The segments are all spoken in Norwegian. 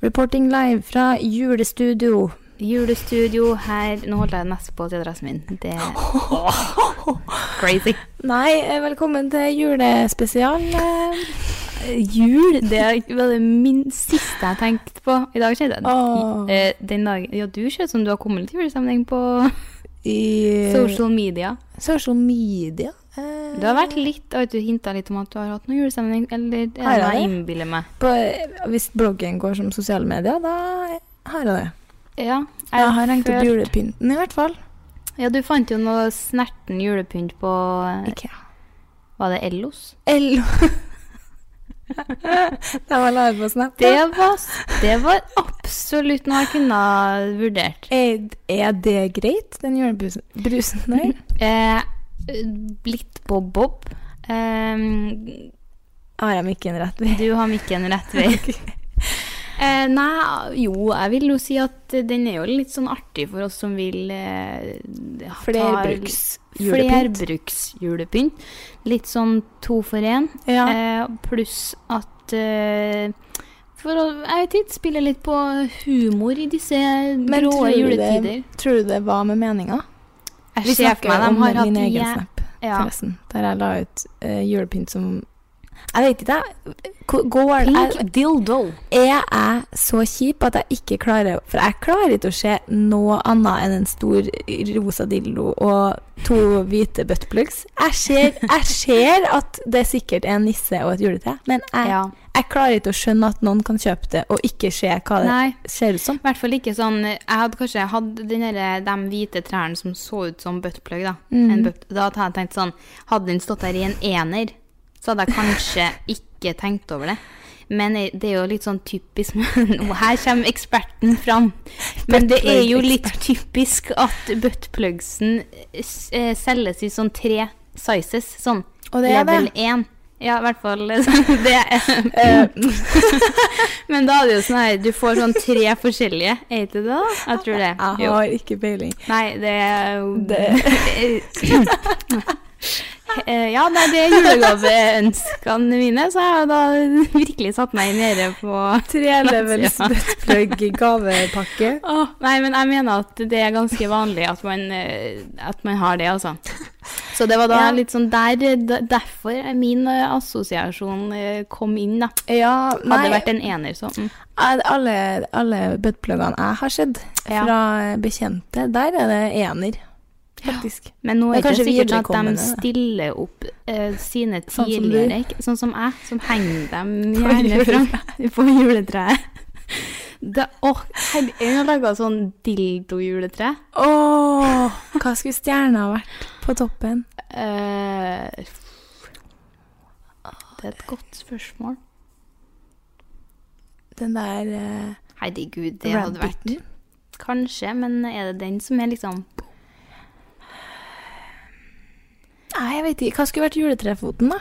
Reporting live fra julestudio. Julestudio her Nå holdt jeg nesten på å si adressen min. Det er crazy. Nei, eh, velkommen til julespesial. eh. Eh, Jul, det er ikke- var det min siste jeg tenkte på. I dag skjedde det. Åh. Eh, Den dagen Ja, du ser ut som du har kommet litt i julesammenheng på I social media. social media. Eh, Du har vært litt og Du hinta litt om at du har hatt noe julesammenheng, eller er det Har jeg noe jeg det? innbiller meg? på, eh, Hvis bloggen går som sosiale medier, da har jeg det. Ja, Jeg har hengt opp følt- julepynten, i hvert fall. Ja, du fant jo noe snerten julepynt på eh, Ikea. Var det Ellos? Ello. det var live på Snap. ja. Det var, det var absolutt noe jeg kunne ha vurdert. Er, er det greit, den julebrusen? Brusen der? Eh, litt på Bob. Eh, Har jeg mikken rett ved? du har mikken rett vei. Eh, nei, jo, jeg vil jo si at den er jo litt sånn artig for oss som vil eh, ha- ta- Flerbruksjulepynt. Flerbruksjulepynt. Litt sånn to for én. Ja. Eh, pluss at eh, for å jeg vet ikke, spille litt på humor i disse Men grå tror du juletider. det, tror du det var med meninga? Jeg ser for meg de har hatt min egen jæ- snap, ja. forresten. Der jeg la ut eh, julepynt som Jeg vet ikke, jeg. Hvor- Går jeg, Pink dildo. er jeg så kjip at jeg ikke klarer For jeg klarer ikke å se noe annet enn en stor rosa dildo og to hvite buttplugs. Jeg ser, jeg ser at det sikkert er en nisse og et juletre, men jeg, Ja. jeg klarer ikke å skjønne at noen kan kjøpe det og ikke se hva det Nei. ser ut som. I hvert fall ikke sånn Jeg hadde kanskje hatt den derre- de hvite trærne som så ut som buttplug, da. Mm. En butt, da hadde jeg tenkt sånn Hadde den stått der i en ener, så hadde jeg kanskje ikke tenkt over det. Men jeg- det er jo litt sånn typisk Nå, Her kommer eksperten fram. Men det er jo litt typisk at buttplugsen eh, s- eh, selges i sånn tre sizes. Sånn Og det er det. level 1. Ja, i hvert fall eh, det er Eh, men da er det jo sånn her Du får sånn tre forskjellige. Er ikke det, da? Jeg tror det. Jeg Jo. har ikke peiling. Nei, det er jo Det- Eh, Ja, nei, det er julegaveønskene mine, så jeg har jo da virkelig satt meg nede på Trelevels Ja. buttplug gavepakke. Åh, nei, men jeg mener at det er ganske vanlig at man, eh, at man har det, altså. Så det var da Ja. litt sånn der, de- derfor er min eh, assosiasjon eh, kom inn, da. Ja, Hadde nei, det vært en ener, så mm. al- alle, alle buttpluggene jeg har sett Ja. fra bekjente, der er det ener, faktisk. Men nå Det er er det kanskje sikkert sånn at de viderekommende, da. stiller opp eh, sine som du. tidligere, ikke- sånn som jeg, som henger dem På gjerne fram på juletreet. Det, åh, her, jeg har laga sånn dildo-juletre. Åh, hva skulle stjerna vært på toppen? Eh, det er et godt spørsmål. Den der eh, Herregud, det hadde vært rabbiten. Kanskje, men er det den som er liksom Nei, jeg vet ikke. Hva skulle vært juletrefoten, da?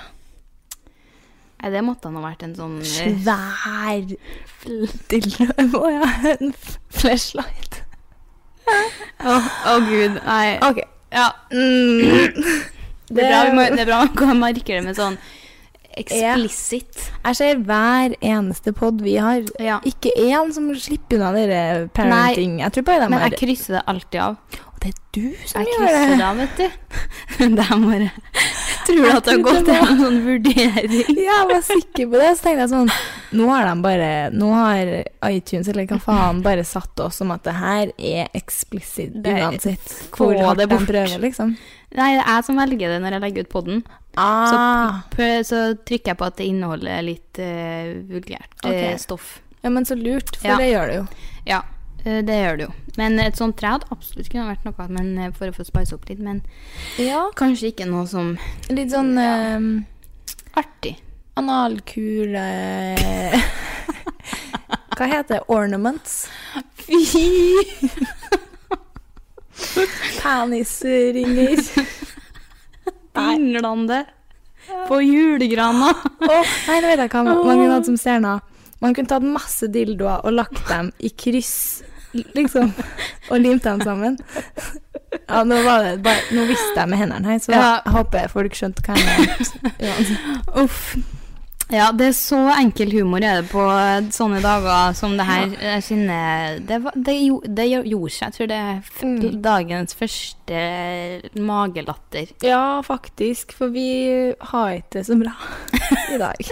Ja, det måtte han ha vært en sånn eh, Svær fl- dildo Å ja, en f- flashlight. Å, å gud. Nei. OK. Ja. Mm. Det er bra, vi må, det er bra man kan markere det med sånn explicit. Jeg ser hver eneste pod vi har. Ja. Ikke én som slipper unna dere parenting. Jeg tror bare de Men har jeg krysser det alltid av. Å, Det er du som Jeg gjør krysser Sånn det det! av, vet du. Det er bare Tror du at det har trodde gått det var- en sånn vurdering? Jeg var sikker på det, så tenkte jeg sånn Nå har de bare Nå har iTunes eller hva faen bare satt oss om at det her er explicit Det er- uansett få hvor hardt det de bort. prøver, liksom. Nei, det er jeg som velger det når jeg legger ut podden. Så, Ah. prø- så trykker jeg på at det inneholder litt eh, vulgært eh, Ok. stoff. Ja, men så lurt, for Ja. det gjør det jo. Ja, eh, det gjør det jo. Men et sånt tre hadde absolutt kunne vært noe men eh, for å få spice opp litt. Men Ja. kanskje ikke noe som Litt sånn eh, artig. analkule Hva heter det? Ornaments? Fy! Penisringer. Dinglende på julegrana. Åh, nei, nå vet jeg hva man kunne hatt som stjerner. Man kunne tatt masse dildoer og lagt dem i kryss, liksom, og limt dem sammen. Ja, nå, var det bare, nå visste jeg med hendene her, så Ja. jeg håper folk skjønte hva jeg mente. uansett. Uff. Ja, det er så enkel humor er det på sånne dager som det her. Jeg kjenner Det, var, det, gjo- det gjo- gjorde seg. Jeg tror det er f Mm. dagens første magelatter. Ja, faktisk, for vi har ikke det så bra i dag.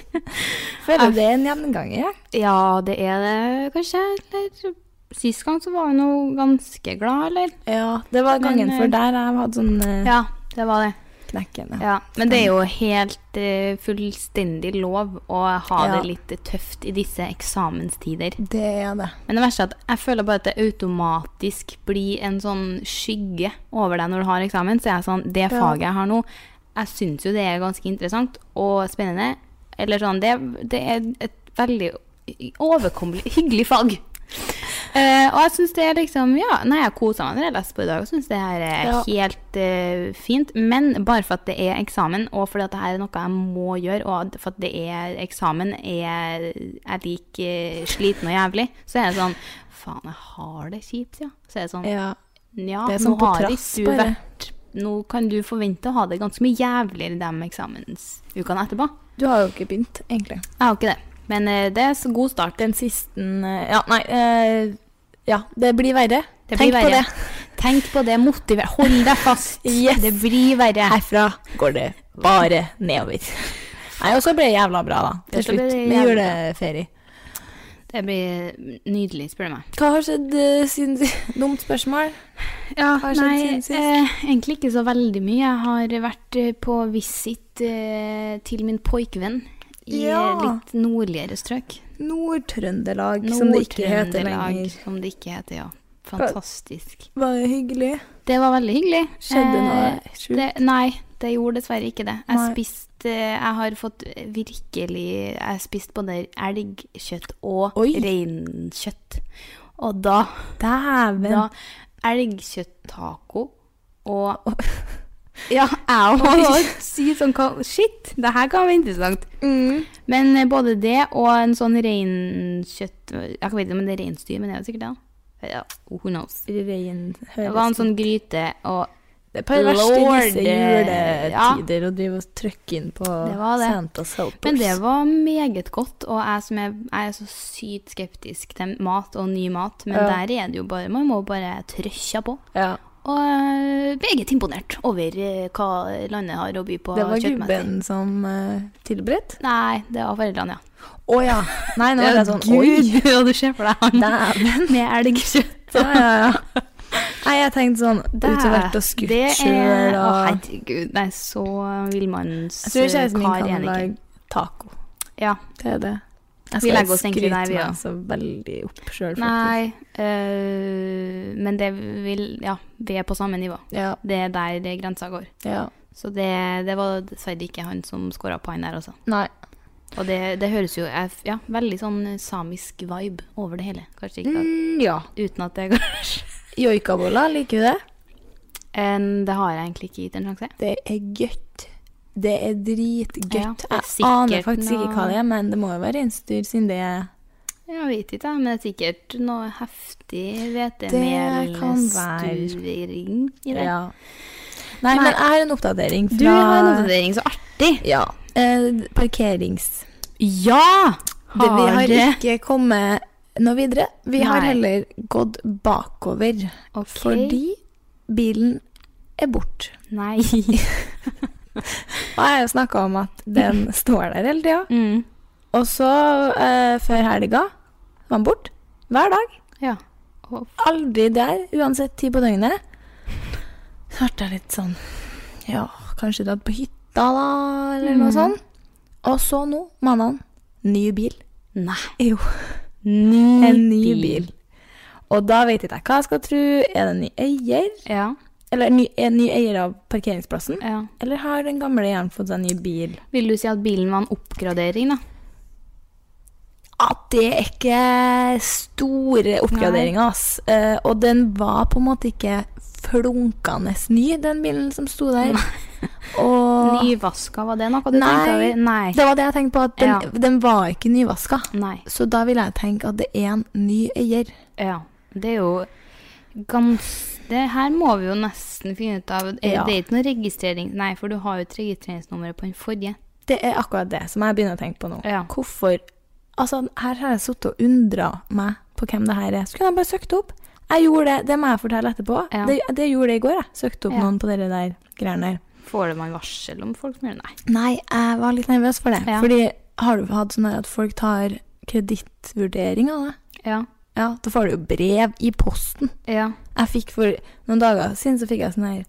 Føler det er en gjenganger, jeg. Ja, det er det kanskje. Eller sist gang så var hun jo ganske glad, eller? Ja, det var gangen Men, eh, før der jeg hadde sånn eh, Ja, det var det. knekken. Ja. Ja. Men det er jo helt eh, fullstendig lov å ha Ja. det litt tøft i disse eksamenstider. Det er det. Men det verste er at jeg føler bare at det automatisk blir en sånn skygge over deg når du har eksamen. Så jeg er sånn, det Ja. faget jeg har nå, jeg syns jo det er ganske interessant og spennende. Eller sånn, det, det er et veldig overkommelig, hyggelig fag. Eh, og jeg syns det er liksom Ja, nei, jeg koser meg når jeg leser på i dag. Jeg syns det her er Ja. helt eh, fint. Men bare for at det er eksamen, og fordi at det her er noe jeg må gjøre, og at- for at det er eksamen, er jeg like eh, sliten og jævlig, så er det sånn Faen, jeg har det kjipt, ja. Så er det sånn Ja. Ja, Det er nå sånn på har trass, ikke du bare. vært Nå kan du forvente å ha det ganske mye jævligere de eksamensukene etterpå. Du har jo ikke begynt, egentlig. Jeg har ikke det. Men eh, det er så god start. Den siste eh, Ja, nei eh, Ja, det blir verre. Det Tenk blir på verre. det. Tenk på det. Motiver. Hold deg fast. Yes. Det blir verre. Herfra går det bare nedover. Nei, og så ble det jævla bra, da. Til Og så ble slutt. det Med jævla juleferie. Det blir nydelig, spør du meg. Hva har skjedd eh, siden sist? Dumt spørsmål. Ja, Hva har skjedd nei, siden sist? eh, egentlig ikke så veldig mye. Jeg har vært eh, på visit eh, til min poikvenn i Ja. eh, litt nordligere strøk. Nord-Trøndelag, som det ikke heter Nord-Trøndelag, lenger. Som det ikke heter, ja. Fantastisk. Var det hyggelig? Det var veldig hyggelig. Skjedde noe Eh, sjukt? Det, nei, det gjorde dessverre ikke det. Jeg Nei. spiste eh, Jeg har fått virkelig Jeg spiste både elgkjøtt og Oi. reinkjøtt. Og da, Dæven. da Elgkjøtttaco og Ja, jeg òg sier sånn hva Shit, det her kan være interessant. Mm. Men eh, både det og en sånn reinkjøtt Jeg kan ikke vite om det er reinsdyr, men det er jo sikkert det. da. Ja, who knows. Rein Det var en høres sånn gryte, og Det er på det verste i Lord, disse eh, juletider å drive og trykke inn på Det var det. Santas helpers. Men det var meget godt, og jeg som er, jeg er så sykt skeptisk til mat og ny mat, men Ja. der er det jo bare Man må bare trøsje på. ja, Og øh, meget imponert over øh, hva landet har å by på det var kjøttmessig. gubben som uh, tilberedte. Nei, det var foreldrene, ja. Å ja. Nei, nå er det sånn Oi, Gud, ja, du ser for deg han dæven. med elgkjøtt. Ja, ja, ja. Nei, jeg tenkte sånn Ut og vært og skutt det er- sjøl Å, og herregud. Nei, Jeg så tror kjæresten min villmannskar er kan han ikke. lage taco. Ja. Det er det. Jeg Vi skal legger oss egentlig skryte der, vi meg også. så veldig opp sjøl, faktisk. Nei, øh, men det vil Ja, vi er på samme nivå. Ja, Det er der det grensa går. ja. Så det, det var dessverre ikke han som scora på han der, altså. Nei. Og det, det høres jo jeg f- Ja, veldig sånn samisk vibe over det hele. Kanskje ikke at, Mm, ja. uten at det kanskje Joikaboller, liker du det? Eh, En, Det har jeg egentlig ikke gitt en sjanse. Det er godt. Det er dritgodt. Ja, det er jeg aner sikkert faktisk ikke hva noe- det er, men det må jo være reinsdyr siden det er Jeg vet ikke, men det er sikkert noe heftig Det kan være. hvetemelsturing i det. Ja. Nei, Nei. men jeg har en oppdatering fra Du har en oppdatering, så artig! Ja. Eh, parkerings... Ja! Det, vi Har har det? ikke kommet noe videre. Vi har Nei. heller gått bakover Ok. fordi bilen er borte. Nei. Og jeg har jo snakka om at den står der hele tida. Mm. Og så, eh, før helga, var den borte. Hver dag. Ja. Og aldri der, uansett tid på døgnet. Så ble jeg litt sånn Ja, kanskje dratt på hytta, da, eller Mm. noe sånt. Og så nå, mandag, ny bil. Nei. Jo, Ny en ny bil. Og da vet ikke jeg hva jeg skal tro. Er det en ny eier? Ja. Eller ny, en ny eier av parkeringsplassen? ja. Eller har den gamle eieren fått seg en ny bil? Vil du si at bilen var en oppgradering, da? At det er ikke store oppgraderinger, ass. Eh, og den var på en måte ikke flunkende ny, den bilen som sto der. Og Nyvaska, var det noe du Nei. tenkte over? Nei. det var det jeg tenkte på, at den, Ja. den var ikke nyvaska. Nei. Så da vil jeg tenke at det er en ny eier. Ja. Det er jo gans... Det her må vi jo nesten finne ut av. Er Ja. Det er ikke noe registrering... Nei, for du har jo ikke registreringsnummeret på den forrige. Det er akkurat det som jeg begynner å tenke på nå. Ja. Hvorfor Altså, her har jeg sittet og undra meg på hvem det her er. Så kunne jeg bare søkt det opp. Jeg gjorde det, det må jeg fortelle etterpå. Ja. Det, det gjorde jeg i går, jeg. Søkte opp Ja. noen på dere der greiene der. Får det man varsel om folk som gjør det? Nei. Nei, jeg var litt nervøs for det. Ja. Fordi har du hatt sånn her at folk tar kredittvurdering av det? Ja. Ja, da får du jo brev i posten. Ja. Jeg fikk for noen dager siden så fikk jeg sånn her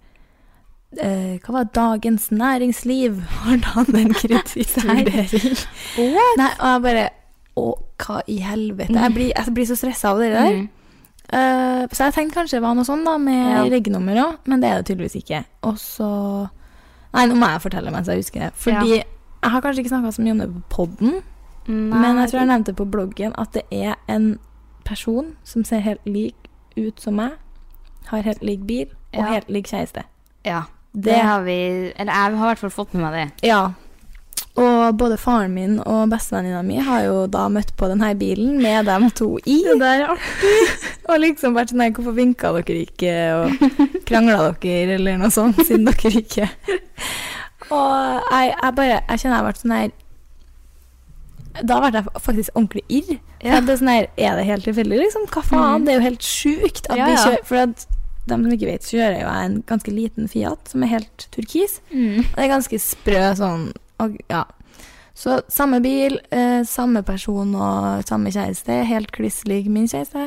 eh, Hva var det? Dagens Næringsliv har tatt en kredittvurdering. Nei, og jeg bare Å, hva i helvete? Jeg blir, jeg blir så stressa av det der. Mm. Eh, så jeg tenkte kanskje det var noe sånn da, med Ja. reggenummer òg, men det er det tydeligvis ikke. Og så Nei, nå må jeg fortelle mens jeg husker det. Fordi jeg har kanskje ikke snakka så mye om det på podden, Nei. men jeg tror jeg nevnte på bloggen at det er en person som ser helt lik ut som meg, har helt lik bil og Ja. helt lik kjæreste. Ja. Det, Det- har vi Eller jeg har i hvert fall fått med meg det. Ja. Og både faren min og bestevenninna mi har jo da møtt på denne bilen med dem to i. Det der er artig. og liksom vært sånn her Hvorfor vinka dere ikke, og krangla dere, eller noe sånt, siden dere ikke Og jeg, jeg bare Jeg kjenner jeg har vært sånn her Da ble jeg faktisk ordentlig irr. For Ja. at det er sånn her Er det helt tilfeldig, liksom? Hva faen? Mhm. Det er jo helt sjukt at Ja, vi ja. kjører For at de som ikke vet, så kjører jo jeg en ganske liten Fiat som er helt turkis. Mm. Og Det er ganske sprø sånn og, ja. Så samme bil, eh, samme person og samme kjæreste. Helt kliss lik min kjæreste.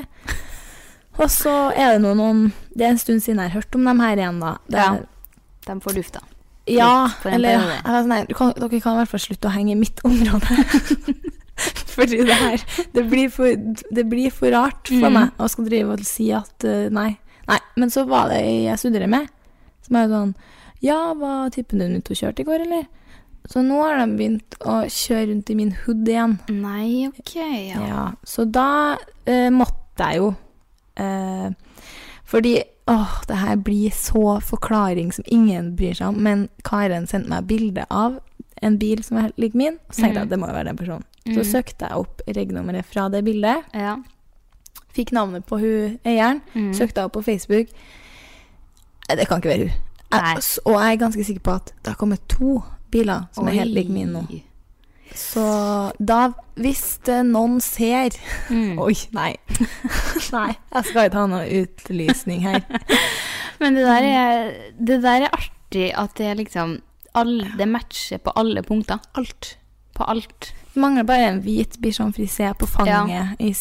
Og så er det nå noen Det er en stund siden jeg har hørt om dem her igjen, da. Det, Ja. De får lufta. ja, Litt for en eller periode. jeg var sånn her, du kan, Dere kan i hvert fall slutte å henge i mitt område. Fordi det her Det blir for, det blir for rart for Mm. meg å skal drive og si at eh, nei. Nei, Men så var det ei jeg studerte med, som er sånn Ja, var typen din ute og kjørte i går, eller? Så nå har de begynt å kjøre rundt i min hood igjen. Nei, OK, ja. Ja, Så da eh, måtte jeg jo. Eh, fordi åh, det her blir så forklaring som ingen bryr seg om. Men Karen sendte meg bilde av en bil som var helt lik min. Og så tenkte jeg Mhm. at det må jo være den personen. Så Mm. søkte jeg opp regnummeret fra det bildet. Ja. Fikk navnet på hun eieren. Mm. Søkte jeg opp på Facebook. Eh, Det kan ikke være hun. Nei. Jeg, s- og jeg er ganske sikker på at det har kommet to biler som er helt like min nå. Oi. Så da, hvis det noen ser Mm. Oi, nei. nei. Jeg skal ikke ha noe utlysning her. Men det der, er, det der er artig at det er liksom alle, Det matcher på alle punkter. Alt. På alt. Det mangler bare en hvit bichon frisé på fanget Ja. i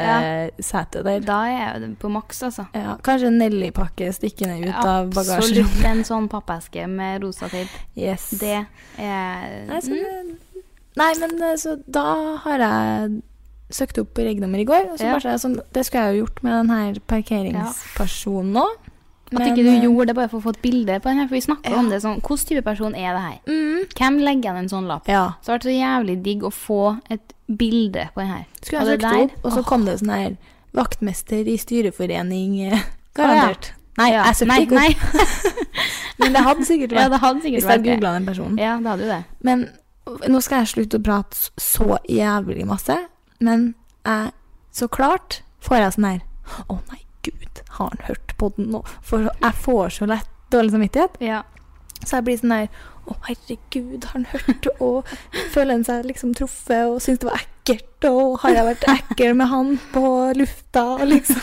sidesetet der. Da er jeg jo på maks, altså. Ja, kanskje en Nelly-pakke stikkende ut av bagasjerommet. Absolutt en sånn pappeske med rosa teip. Yes. Det er Nei, så, mm, nei, men eh, så da har jeg søkt opp på regnummer i går. Og så Ja. bare sånn, Det skulle jeg jo gjort med den her parkeringspersonen nå. At Men, ikke du eh, gjorde det bare for å få et bilde på den her, for vi snakka Ja. om det sånn Hvilken type person er det her? mm, Hvem legger igjen en sånn lapp? Ja. Så det har vært så jævlig digg å få et bilde på den her. Skulle jeg søkt det der- opp, og så Åh, kom det sånn her Vaktmester i styreforening. eh, Garantert. Nei, Ja. jeg søkte Nei, ikke opp. nei. Men det hadde sikkert Ja, vært det hadde Hvis sikkert jeg vært googla det. den personen. Ja, det hadde jo det. Men nå skal jeg slutte å prate s- så jævlig masse, men jeg, så klart får jeg sånn her Å nei, gud, har han hørt på den nå? For jeg får så lett dårlig samvittighet. Ja. Så jeg blir sånn her Å herregud, har han hørt? Og føler han seg liksom truffet og syns det var ekkelt? Og har jeg vært ekkel med han på lufta? Og liksom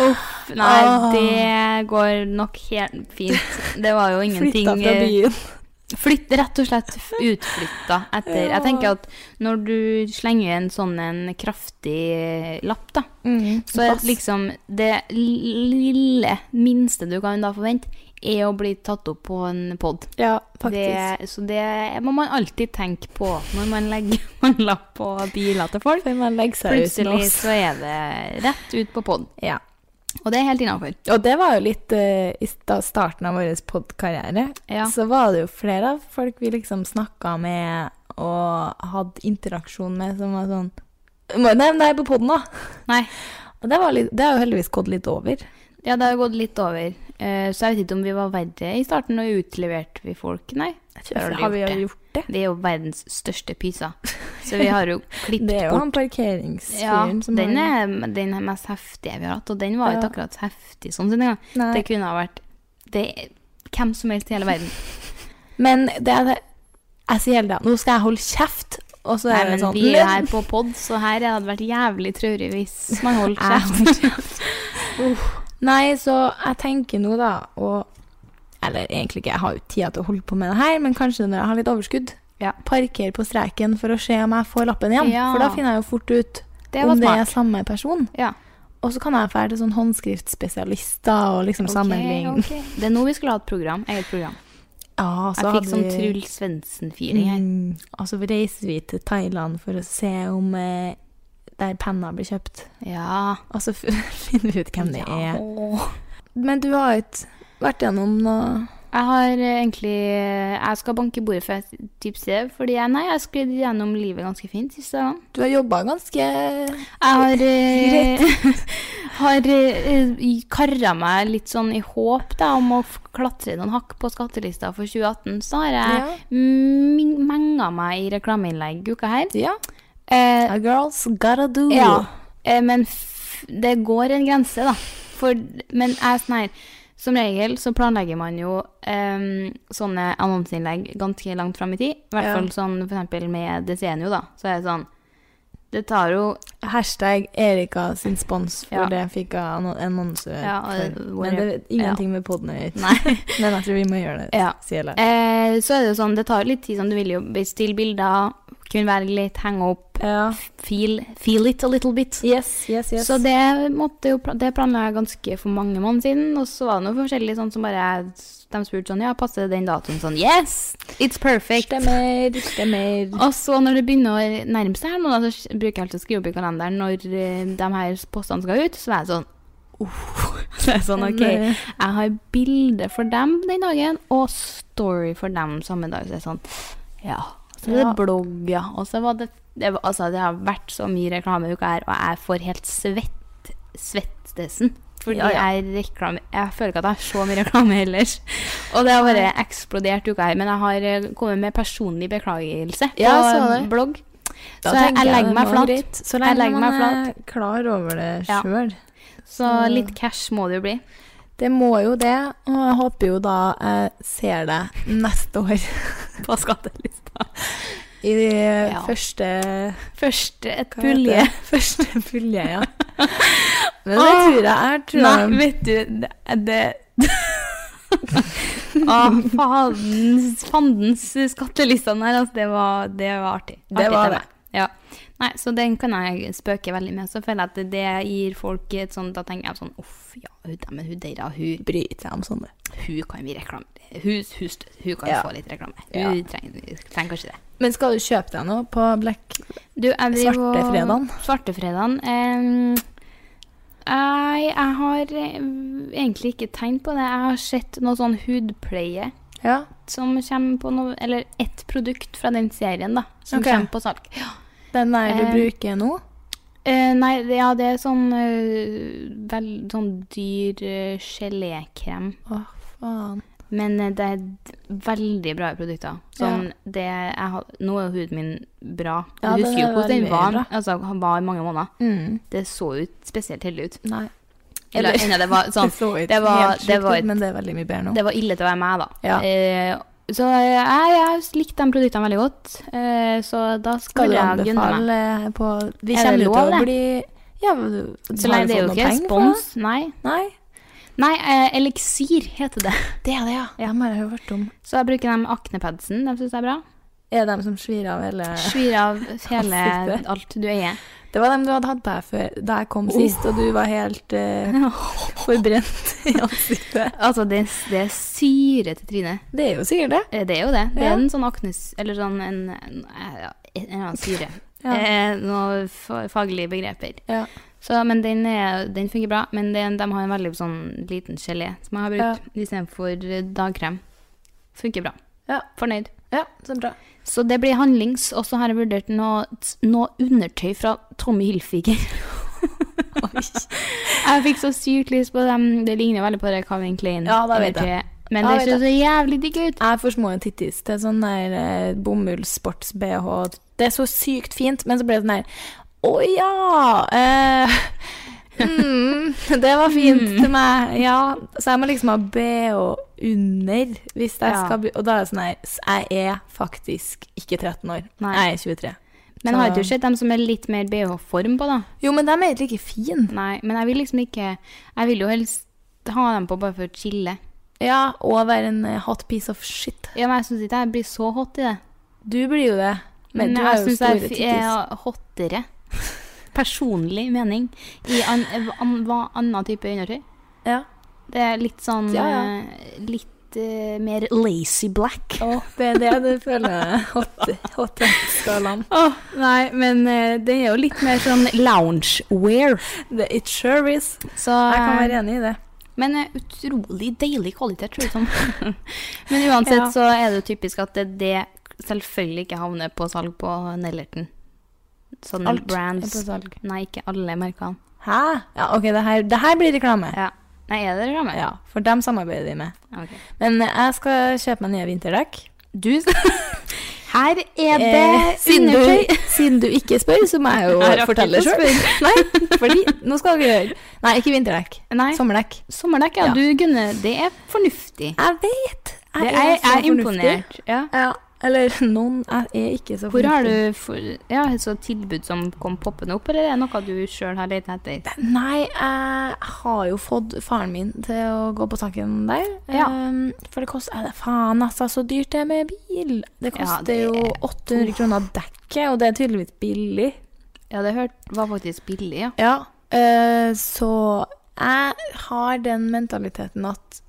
Uff, nei, det går nok helt fint. Det var jo ingenting flytta fra eh, byen. Flytt, rett og slett f- utflytta etter. Jeg tenker at når du slenger en sånn en kraftig lapp, da, så er Pass. liksom det lille, minste du kan da forvente, er å bli tatt opp på en pod. Ja, faktisk. Det, så det må man alltid tenke på når man legger en lapp på biler til folk. For man legger seg ut med Plutselig oss. så er det rett ut på pod, Ja. og det er helt innafor. Og det var jo litt eh, i sta- starten av vår podkarriere. Ja. Så var det jo flere av folk vi liksom snakka med og hadde interaksjon med, som var sånn Må jeg nevne det her på poden, da? Nei. Og det, var litt, det har jo heldigvis gått litt over. Ja, det har gått litt over. Eh, Så jeg vet ikke om vi var verre i starten og utleverte vi folk. Nei. vi har aldri Har vi gjort det. gjort det? Vi er jo verdens største pyser. Så vi har jo klippet Det er jo bort. han Ja, parkeringsfyren som den har er den er mest heftige vi har hatt, og den var Ja. jo ikke akkurat så heftig sånn sett engang. Nei. Det kunne ha vært det, hvem som helst i hele verden. Men det er det Jeg sier hele tida Nå skal jeg holde kjeft! Og så Nei, er det men sånn vi er «Lønn!» her på pod, så her hadde det vært jævlig traurig hvis man holdt Jeg kjeft. Nei, så jeg tenker nå da å Eller egentlig ikke, jeg har jo tida til å holde på med det her, men kanskje når jeg har litt overskudd, Ja. parker på streken for å se om jeg får lappen igjen. Ja. For da finner jeg jo fort ut Det var om det er smart. samme person. Ja. Og så kan jeg dra til sånn håndskriftspesialister og liksom sammenligne. Ok, ok. Det er nå vi skulle ha et program. Eget program. Ja, så Jeg hadde fikk sånn vi- Truls Svendsen-feeling her. Mm, og så reiser vi til Thailand for å se om eh, der penna blir kjøpt. Ja. Og så f- finner vi ut hvem det Ja. er. Men du har jo ikke vært gjennom noe Jeg har eh, egentlig eh, Jeg skal banke i bordet for et type sted, fordi jeg, nei, jeg har sklidd gjennom livet ganske fint siste gang. Du har jobba ganske Jeg har, eh, har eh, karra meg litt sånn i håp da, om å f- klatre noen hakk på skattelista for 2018. Så har jeg Ja. min- menga meg i reklameinnlegg uka her. Ja. Eh, A girl's gotta do. ja. Eh, men f det går en grense, da. For, men jeg er sånn her Som regel så planlegger man jo em, sånne annonseinnlegg ganske langt fram i tid. I hvert Ja. fall sånn for eksempel med Desenio, da. Så er det sånn Det tar jo Hashtag Erika sin spons, for Ja. det fikk jeg anno- annonser Ja, og- for. hvor- Men det er ingenting med poden å gjøre. Nei. Men jeg tror vi må gjøre det, Ja. sier Lars. Eh, så er det jo sånn, det tar jo litt tid, sånn, du vil jo bestille bilder, kunne velge litt, henge opp, Ja. feel, feel it a little bit. Eh, Yes, yes, Ah. yes. Så det, måtte jo, pla- det planla jeg ganske for mange måneder siden, og så var det noe forskjellig sånn som bare, de spurte sånn, ja, passer den datoen sånn, yes, it's perfect. stemmer, stemmer. Og så når det begynner å nærme seg her nå, da, så bruker jeg alltid å skrive opp i kalenderen når eh, de her postene skal ut, så er jeg sånn, «Uff». så er jeg sånn, ok, Nei. jeg har bilde for dem den dagen, og story for dem samme dag, så er jeg sånn, ja, så er det Ja. blogg, ja, og så var det, det, var- altså det har vært så mye reklame i uka her, og jeg får helt svett, svettesen, fordi Ja, ja. jeg reklame, jeg føler ikke at jeg har så mye reklame ellers, og det har bare eksplodert uka her, men jeg har eh, kommet med personlig beklagelse på Ja, jeg så det. blogg, Da så jeg, tenker jeg legger det meg var flat, greit, Så lenge Jeg legger man meg flat. er Mm. klar over det Ja. sjøl. så litt cash må det jo bli. Det må jo det, og jeg håper jo da jeg ser deg neste år. På skattelista. I de Ja. første Først et hva heter det? pulje. Første pulje, ja. Men det tror jeg jeg tror jeg- Nei, vet du, det, det Å, fadens, fandens skattelistene her, altså. Det var, det var artig. Det Artig var tema. det. Ja. Nei, så den kan jeg spøke veldig med. Så føler jeg at det gir folk et sånt Da tenker jeg sånn Uff, ja, hun der, men hun der, hun, bryter jeg om sånn. sånne. hun kan vi reklame Hun, hun, stø- hun kan Ja. få litt reklame. Hun Ja. trenger, trenger kanskje det. Men skal du kjøpe deg noe på Black Du, jeg driver og- Svartefredagen. Svartefredagen. em, jeg, jeg har eh, egentlig ikke tegnet på det. Jeg har sett noe sånn hudpleie Ja. som kommer på noe Eller ett produkt fra den serien, da. Som Ok. kommer på salg. Den der du Eh, bruker nå? Eh, nei, det- ja, det er sånn eh, vel, sånn dyr eh, gelékrem. Å, faen. Men eh, det er d- veldig bra produkter. Sånn, det jeg har, nå er jo huden min bra. Jeg Ja, den husker jo er hvordan den veldig var. bra. Altså, han var i mange måneder. Mm. Det så ut spesielt heldig ut. Nei. Eller, Eller- enda det var sånn det så ut det var- helt sjukt det var et- ut, men det er veldig mye bedre nå. Det var ille til å være meg, da. Ja. Eh, så jeg, jeg likte de produktene veldig godt. Eh, så da Skal skal du jeg gunne meg. anbefale eh, på Vi Er det kommer jo lov, til å det? bli ja, men du- Så har lenge du det er jo fått noen ikke penger for spons. Nei. det? Nei. Nei, eh, eliksir heter det. Det er det, ja. Dem har jeg hørt om. Så jeg bruker dem aknepadsen. De syns jeg er bra. Er det dem som svir av hele Svir av hele Ansiktet. alt du eier. Det var dem du hadde hatt på her før, da jeg kom sist, og du var helt eh, forbrent i ansiktet. Altså, det, det er syre til trynet. Det er jo sikkert det. Eh, Det er jo det. Det er Ja. en sånn aknes... Eller sånn en, en, ja, en eller annen syre. Ja. Eh, Noen fa- faglige begreper. Ja. Så, men den, er, den fungerer bra. Men den, de har en veldig sånn liten gelé som jeg har brukt istedenfor eh, dagkrem. Funker bra. Ja. Fornøyd. Ja, så bra. Så det blir handlings. Og så har jeg vurdert noe, noe undertøy fra Tommy Hilfiger. jeg fikk så sykt lyst på dem. Det ligner veldig på det Calvin Klein. Ja, da vet jeg. undertøyet. Men Da det vet ser så jævlig digg ut. Jeg er for små tittis til sånn der eh, bomullssports-BH. Det er så sykt fint, men så ble det sånn her Å ja! Eh, mm, det var fint til meg. Ja. Så jeg må liksom ha BH under hvis jeg Ja. skal bli Og da er det sånn her s- Jeg er faktisk ikke 13 år. Nei. Jeg er 23. Men Så- har ikke du sett dem som er litt mer BH-form på, da? Jo, men de er egentlig ikke fine. Nei, men jeg vil liksom ikke Jeg vil jo helst ha dem på bare for å chille. Ja, og være en eh, hot piece of shit. Ja, men jeg syns ikke jeg blir så hot i det. Du blir jo Mm, det. Men, du jeg har jo synes store jeg tittis. fi- er hottere. Personlig mening. I an, an, hva annen type undertøy. Ja. Det er litt sånn Ja, ja. eh, Litt eh, mer lazy black. Å, det er det du føler hot-skalaen. nei, men eh, det er jo litt mer sånn loungewear. The It sure is. Så, Jeg kan være enig i det. Men eh, utrolig deilig kvalitet, tror jeg. Sånn. men uansett Ja. så er det jo typisk at det, det selvfølgelig ikke havner på salg på Nellerton. Sånne Alt er brands. på salg. Nei, ikke alle merkene. Hæ? Ja, ok, det her, det her blir reklame. Ja. Nei, er det reklame? Ja, for dem samarbeider vi med. Ok. Men eh, jeg skal kjøpe meg nye vinterdekk. Du Her er det Eh, siden, undertøy. du, siden du ikke spør, så må jeg jo Jeg rakk fortelle ikke å sjøl. Nei, fordi Nå skal dere høre. Nei, ikke vinterdekk. Nei. Sommerdekk. Sommerdekk, ja. Ja. Du, Gunne, det er fornuftig. Jeg vet. Det er, jeg er imponert. Ja. Ja, eller noen. Jeg er ikke så Hvor har fornuftig. du for, ja, et sånt tilbud som kom poppende opp, eller er det noe du sjøl har lett etter? Nei, jeg har jo fått faren min til å gå på tanken der. Ja. Ehm, for det koster eh, Faen, altså, så dyrt det er med bil. Det Ja, koster det jo er- 800 kroner dekket, og det er tydeligvis billig. Ja, det hørt, var faktisk billig, ja. Ja. eh, så jeg har den mentaliteten at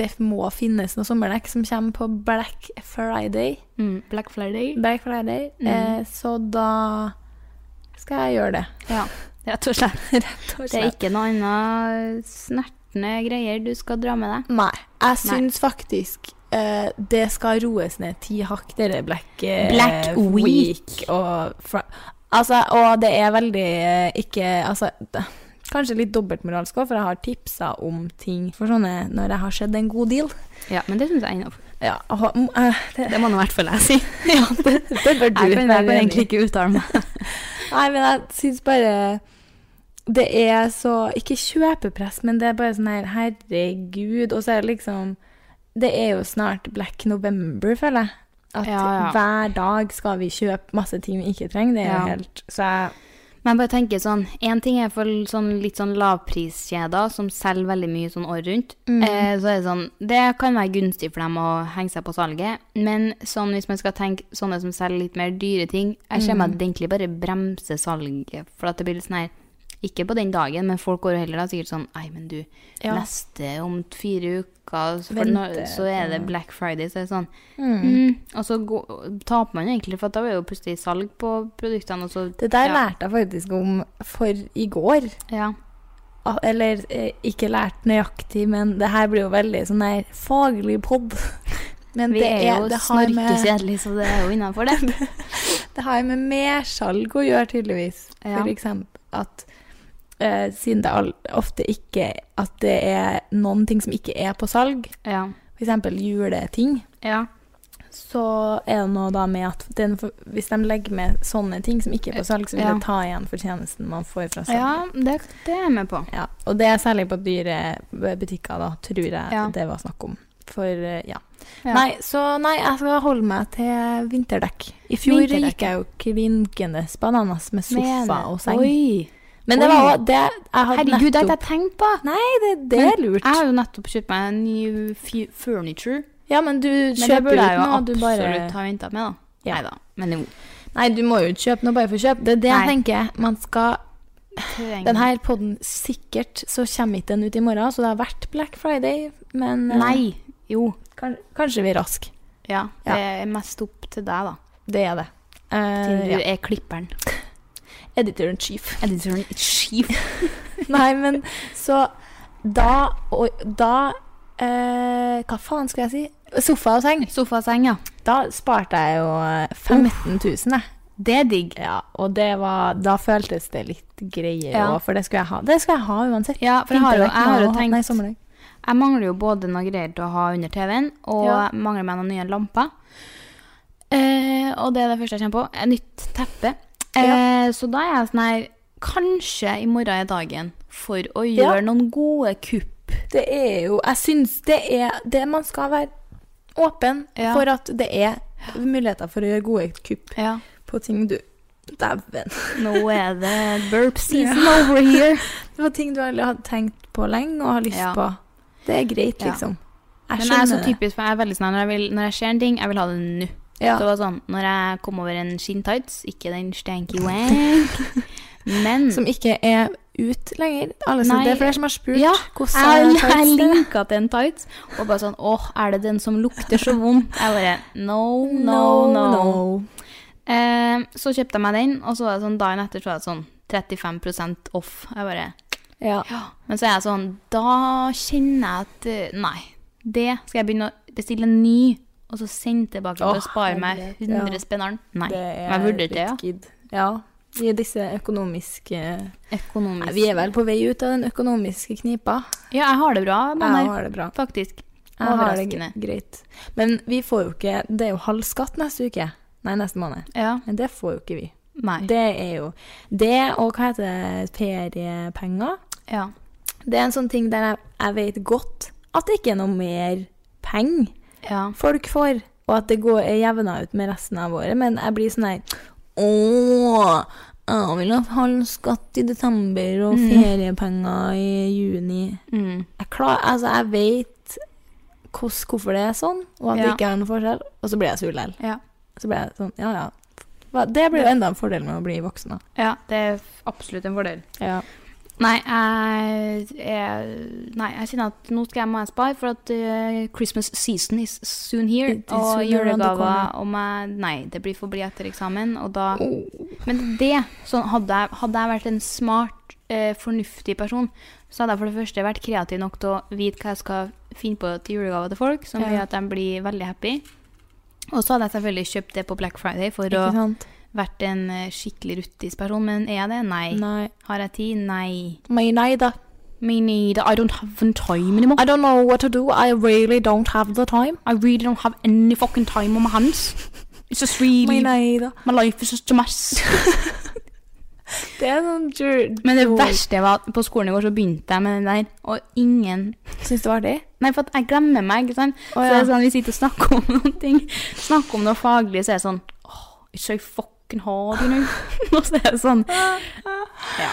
det må finnes noe sommerdekk som kommer på Black Friday. Mm, Black Friday. Black Friday. Mm. Eh, så da skal jeg gjøre det. Ja, rett og slett. Rett og slett. Det er ikke noe annet snertne greier du skal dra med deg. Nei. Jeg Nei. syns faktisk eh, det skal roes ned ti hakk, det der Black, eh, Black Week. og fra, altså, og det er veldig eh, ikke Altså, d- kanskje litt dobbeltmoralsk òg, for jeg har tipsa om ting for sånne når jeg har sett en god deal. Ja, men det syns jeg er innafor. Ja, og, mm, eh, det, Det må nå i hvert fall jeg si. ja, det, det bør du Jeg kan, jeg være kan enig egentlig i. ikke uttale meg. Nei, men jeg syns bare det er så Ikke kjøpepress, men det er bare sånn her Herregud. Og så er det liksom Det er jo snart Black November, føler jeg. At Ja, ja. hver dag skal vi kjøpe masse ting vi ikke trenger. Det er Ja. jo helt Så jeg Men jeg bare tenker sånn, en ting er for sånn, litt sånn lavpriskjeder som selger veldig mye sånn året rundt. Eh, så er det sånn, det kan være gunstig for dem å henge seg på salget, men sånn hvis man skal tenke sånne som selger litt mer dyre ting, jeg ser meg at det egentlig bare bremser salget, for at det blir litt sånn her, ikke på den dagen, men folk går jo heller da sikkert sånn, nei, men du, Ja. neste om fire uker, så, for Vente, nå- så er det Black Friday, så er det sånn, mm. mm, og så gå, taper man egentlig, for at da er jo plutselig salg på produktene, og så... Det der ja, lærte jeg faktisk om for i går. Ja. Ah, Eller eh, ikke lært nøyaktig, men det her blir jo veldig sånn her faglig pod. Men Vi det er jo det har med- snorkekjedelige, så det er jo innafor, det. Det har jo med mersalg å gjøre, tydeligvis. Ja. For eksempel at eh, siden det all, ofte ikke At det er noen ting som ikke er på salg, Ja. f.eks. juleting, ja. så er det noe da med at den, for- hvis de legger med sånne ting som ikke er på salg, så vil Ja. det ta igjen fortjenesten man får fra salg. Ja, det, det er jeg med på. Ja, og det er særlig på dyre butikker, da, tror jeg Ja. det var snakk om. For, eh, ja. Ja. Nei, så nei, jeg skal holde meg til vinterdekk. I fjor Vinterdekk, gikk jeg jo klinkende bananas med sofa Mener- og seng. Oi. Men det Oi. var også det jeg hadde Herregud, det har ikke nettopp jeg tenkt på. Nei, det, det er Men lurt. Jeg har jo nettopp kjøpt meg en ny fu- furniture. Ja, men du Men det kjøper burde jo ikke jeg jo noe. Du absolutt bare ha venta med, da. Ja. Nei da. Men jo. Nei, du må jo ikke kjøpe noe bare for å kjøpe. Det er det jeg Nei. tenker. Man skal trenger- Den her podden, sikkert så kommer ikke den ut i morgen, så det har vært Black Friday, men eh, Nei. Jo. kan, kanskje vi er raske. Ja. Ja. Det er mest opp til deg, da. Det er det. Eh, Siden du ja. er klipperen. Editor in chief. Editoren i Chief. Nei, men så da og da eh, Hva faen skulle jeg si? Sofa og seng. Sofaseng, ja. Da sparte jeg jo eh, 15 000, jeg. Det er digg. Ja, og det var, da føltes det litt greiere Ja. òg, for det skulle jeg ha. Det skulle jeg ha uansett. Ja, for jeg har jo, jeg har jo Vinterdekk, nei, tenkt sommerdekk. Jeg mangler jo både noe greier til å ha under TV-en, og Ja. mangler meg noen nye lamper. Eh, og det er det første jeg kommer på. Et nytt teppe. Eh, Så da er jeg sånn her Kanskje i morgen er dagen for å Ja. gjøre noen gode kupp. Det er jo Jeg syns det er det man skal være åpen Ja. for at det er muligheter for å gjøre gode kupp på ting du Dæven. Nå er det burp season over here. Det var ting du aldri hadde tenkt på lenge og har lyst Ja. på. Det er greit, Ja. liksom. Men Jeg jeg er så skjønner det. typisk, for jeg er veldig sånn her, når jeg, vil, når jeg ser en ting, jeg vil ha det nå. Ja. Så det var sånn, Når jeg kom over en skinntights, ikke den stanky wank, men Som ikke er ut lenger. Alle som, Mm. Nei. det er flere som har spurt Ja, hvordan jeg, er jeg tightsen? linka til en tights, og bare sånn åh, er det den som lukter så vondt? Jeg bare no, no, no. Eh, så kjøpte jeg meg den, og så var det sånn dagen etter så var det sånn 35 off. Jeg bare, Ja. men så er jeg sånn, da kjenner jeg at eh, nei, det skal jeg begynne å bestille en ny, og så sende tilbake for Åh, å spare meg herlighet, 100 ja. spenneren. Nei, Det er men jeg vurderte det, litt ja. gidd. Ja. I disse økonomiske Nei, Økonomisk. Vi er vel på vei ut av den økonomiske knipa. Ja, jeg har det bra, Jeg Mander, har det bra. faktisk. Jeg har det Overraskende. gre- greit. Men vi får jo ikke Det er jo halv skatt neste uke. Nei, neste måned. Ja, Men det får jo ikke vi. nei. Det er jo Det og hva heter det, feriepenger. Ja. Det er en sånn ting der jeg, jeg vet godt at det ikke er noe mer penger Ja. folk får, og at det går er jevna ut med resten av året, men jeg blir sånn her Åh, jeg vil ha halv skatt i desember og feriepenger i juni. Mm. Jeg, klar, altså, jeg vet hvordan, hvorfor det er sånn, og at det Ja. ikke er noen forskjell, og så blir jeg sur likevel. Ja. Så blir jeg sånn, ja ja. Hva- Det blir jo enda en fordel med å bli voksen, da. Ja, det er f- absolutt en fordel. Ja. Nei, jeg, jeg, nei, jeg kjenner at nå skal jeg må jeg spare, for at eh, Christmas season is soon here. It is Og soon around the julegaver corner. om jeg Nei, det blir for bli etter eksamen, og da Men det sånn, hadde, jeg, hadde jeg vært en smart, eh, fornuftig person, så hadde jeg for det første vært kreativ nok til å vite hva jeg skal finne på til julegave til folk, som Ja. gjør at de blir veldig happy. Og så hadde jeg selvfølgelig kjøpt det på Black Friday for å Ikke sant? vært en eh, skikkelig ruttis person, men er jeg det? Nei. Nei. Har jeg tid? Nei. Men nei da. Me neither. I don't have time anymore. I don't know what to do. I really don't have the time. I really don't have any fucking time on my hands. It's just Men really... nei da. My life is just a mess. Det er sånn jur... Men det verste var at på skolen i går så begynte jeg med den der, og ingen... Syns det var artig? Nei, for at jeg glemmer meg, ikke sant? Å, Så ja. det er sånn, vi sitter og snakker om noen ting, snakker om noe faglig, så er det sånn, åh, it's so fucking hard, you know? og så er det sånn, ja.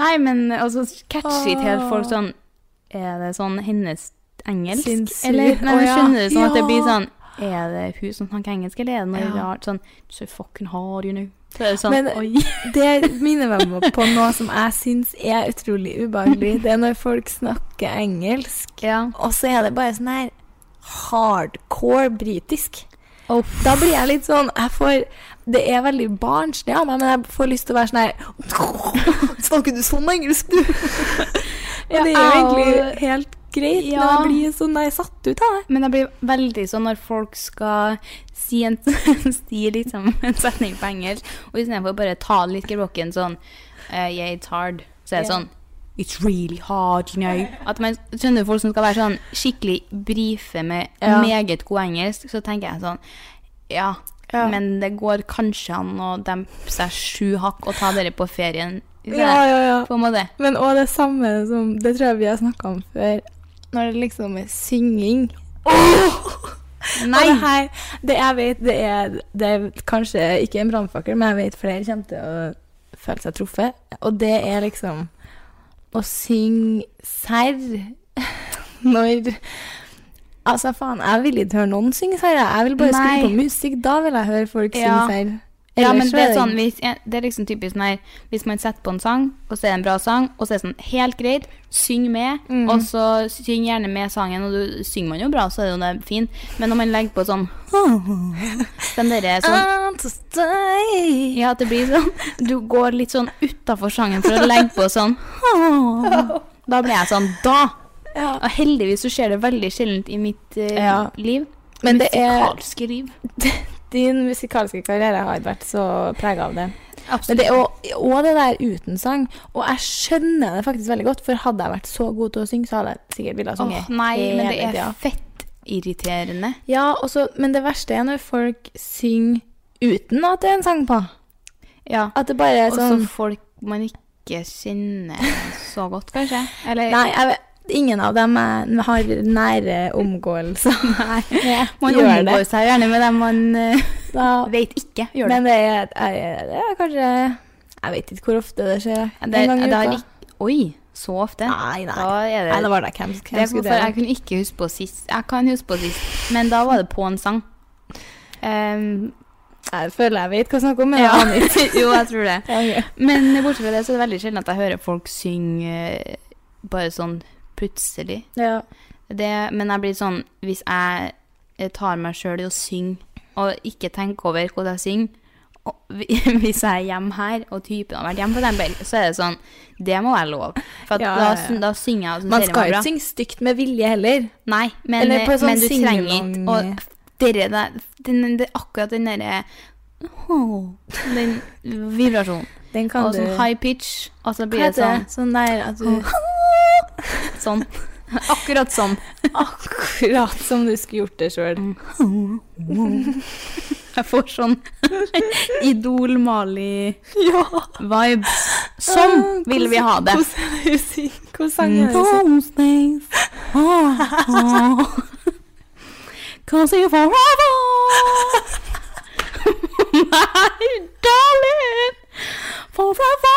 Nei, men altså, catchy til folk sånn, er det sånn hennes engelsk? Sinnssykt. Eller, nei, Å, men ja. skjønner du sånn at det blir Ja. sånn, er det hun som snakker engelsk, eller er det noe Ja. rart? Sånn, it's so fucking hard, you know? Så er det sånn, Men- oi. Det minner meg om- på noe som jeg syns er utrolig ubehagelig. Det er når folk snakker engelsk, Ja. og så er det bare sånn her hardcore britisk. Da blir jeg litt sånn jeg får, Det er veldig barnslig av meg, men jeg får lyst til å være sånn her Snakker du sånn engelsk, du? Og det er jo egentlig helt greit, men Ja. jeg blir sånn der satt ut av det. Men jeg blir veldig sånn når folk skal si, en, si liksom en setning på engelsk, og istedenfor bare ta litt gebrokken sånn eh, Yeah, it's hard. Så er det Ja. sånn It's really hard, you know. At man skjønner folk som skal være sånn skikkelig brife med Ja. meget god engelsk, så tenker jeg sånn Ja, Ja. men det går kanskje an å dempe seg sju hakk og ta dere på ferien. Ja, ja, ja. På en måte. Men òg det samme som Det tror jeg vi har snakka om før. Når det liksom er synging. Og Nei! Det, her, det jeg vet, det er, det er kanskje ikke en brannfakkel, men jeg vet flere kommer til å føle seg truffet. Og det er liksom å synge serr når Altså, faen, jeg vil ikke høre noen synge serr. jeg. Jeg vil bare skru Nei. på musikk. Da vil jeg høre folk synge Ja. serr. Ja, men Ellers så det er, sånn, hvis, ja, det er liksom typisk sånn her Hvis man setter på en sang, og så er det en bra sang, og så er det sånn helt greit, syng med, Mm. og så syng gjerne med sangen, og du synger man jo bra, så er det jo det fint, men når man legger på sånn Den derre sånn I'm to stay. Ja, at det blir sånn Du går litt sånn utafor sangen for å legge på sånn Da blir jeg sånn Da! Ja. Og heldigvis så skjer det veldig sjeldent i mitt eh, Ja. liv. Men det er- Musikalske liv. Din musikalske karriere har vært så prega av det. Men det, og, og det der uten sang. Og jeg skjønner det faktisk veldig godt, for hadde jeg vært så god til å synge, så hadde jeg sikkert villet Åh, synge. nei, men det Sånn hele er tida. fett irriterende. Ja, og så- men det verste er når folk synger uten at det er en sang på. Ja. At det bare er Og så sånn folk man ikke kjenner så godt, kanskje. Eller Nei, jeg vet, ingen av dem er, har nære omgåelser. Nei. Nei, Man gjør omgår det. seg gjerne med dem man eh, Da, vet ikke gjør det. men det er, er, det er kanskje Jeg vet ikke hvor ofte det skjer. Ja, det, en gang i det har uka. ikk- Oi, så ofte? Nei, nei. Da er det, Nei, det var da hvem, Det er hvem skulle hvorfor jeg det kunne ikke huske på sist. Jeg kan huske på sist, men da var det på en sang. Ehm, Jeg føler jeg vet hva jeg snakker om, men ja. jeg aner ikke. jo, jeg tror det. Ok. Men bortsett fra det, så er det veldig sjelden at jeg hører folk synge eh, bare sånn plutselig. Ja. Det, men jeg blir sånn Hvis jeg eh, tar meg sjøl i å synge, og ikke tenker over hvordan jeg synger og hvi- Hvis jeg er hjemme her, og typen har vært hjemme, for eksempel, så er det sånn Det må være lov. For at Ja, da, ja, ja. syn- da synger jeg, og så Man ser det skal meg jo bra. ikke synge stygt med vilje heller. Nei, men, eh, Eller på sånn men du trenger singelang- ikke å dirre deg den- det er Akkurat den derre åh, Den vibrasjonen. Den kan Og du sånn high pitch, og så Hva blir det heter sånn det? Sånn der at du Sånn. Akkurat sånn. Akkurat som du skulle gjort det sjøl. Jeg får sånn Idol Mali-vibes. Sånn vil vi ha det. Mm. Hvilken sang er det? Thursdays. Cause you forever. My darling. Forever.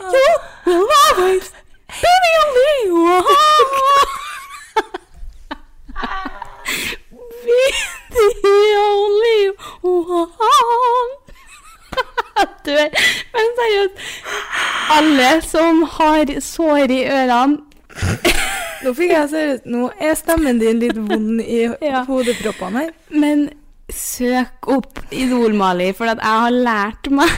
You will always be the only one. be the only one. Du er Men seriøst. Alle som har sår i ørene Nå fikk jeg seriøst Nå er stemmen din litt vond i Ja. hodeproppene her. Men søk opp Idol-Mali, for at jeg har lært meg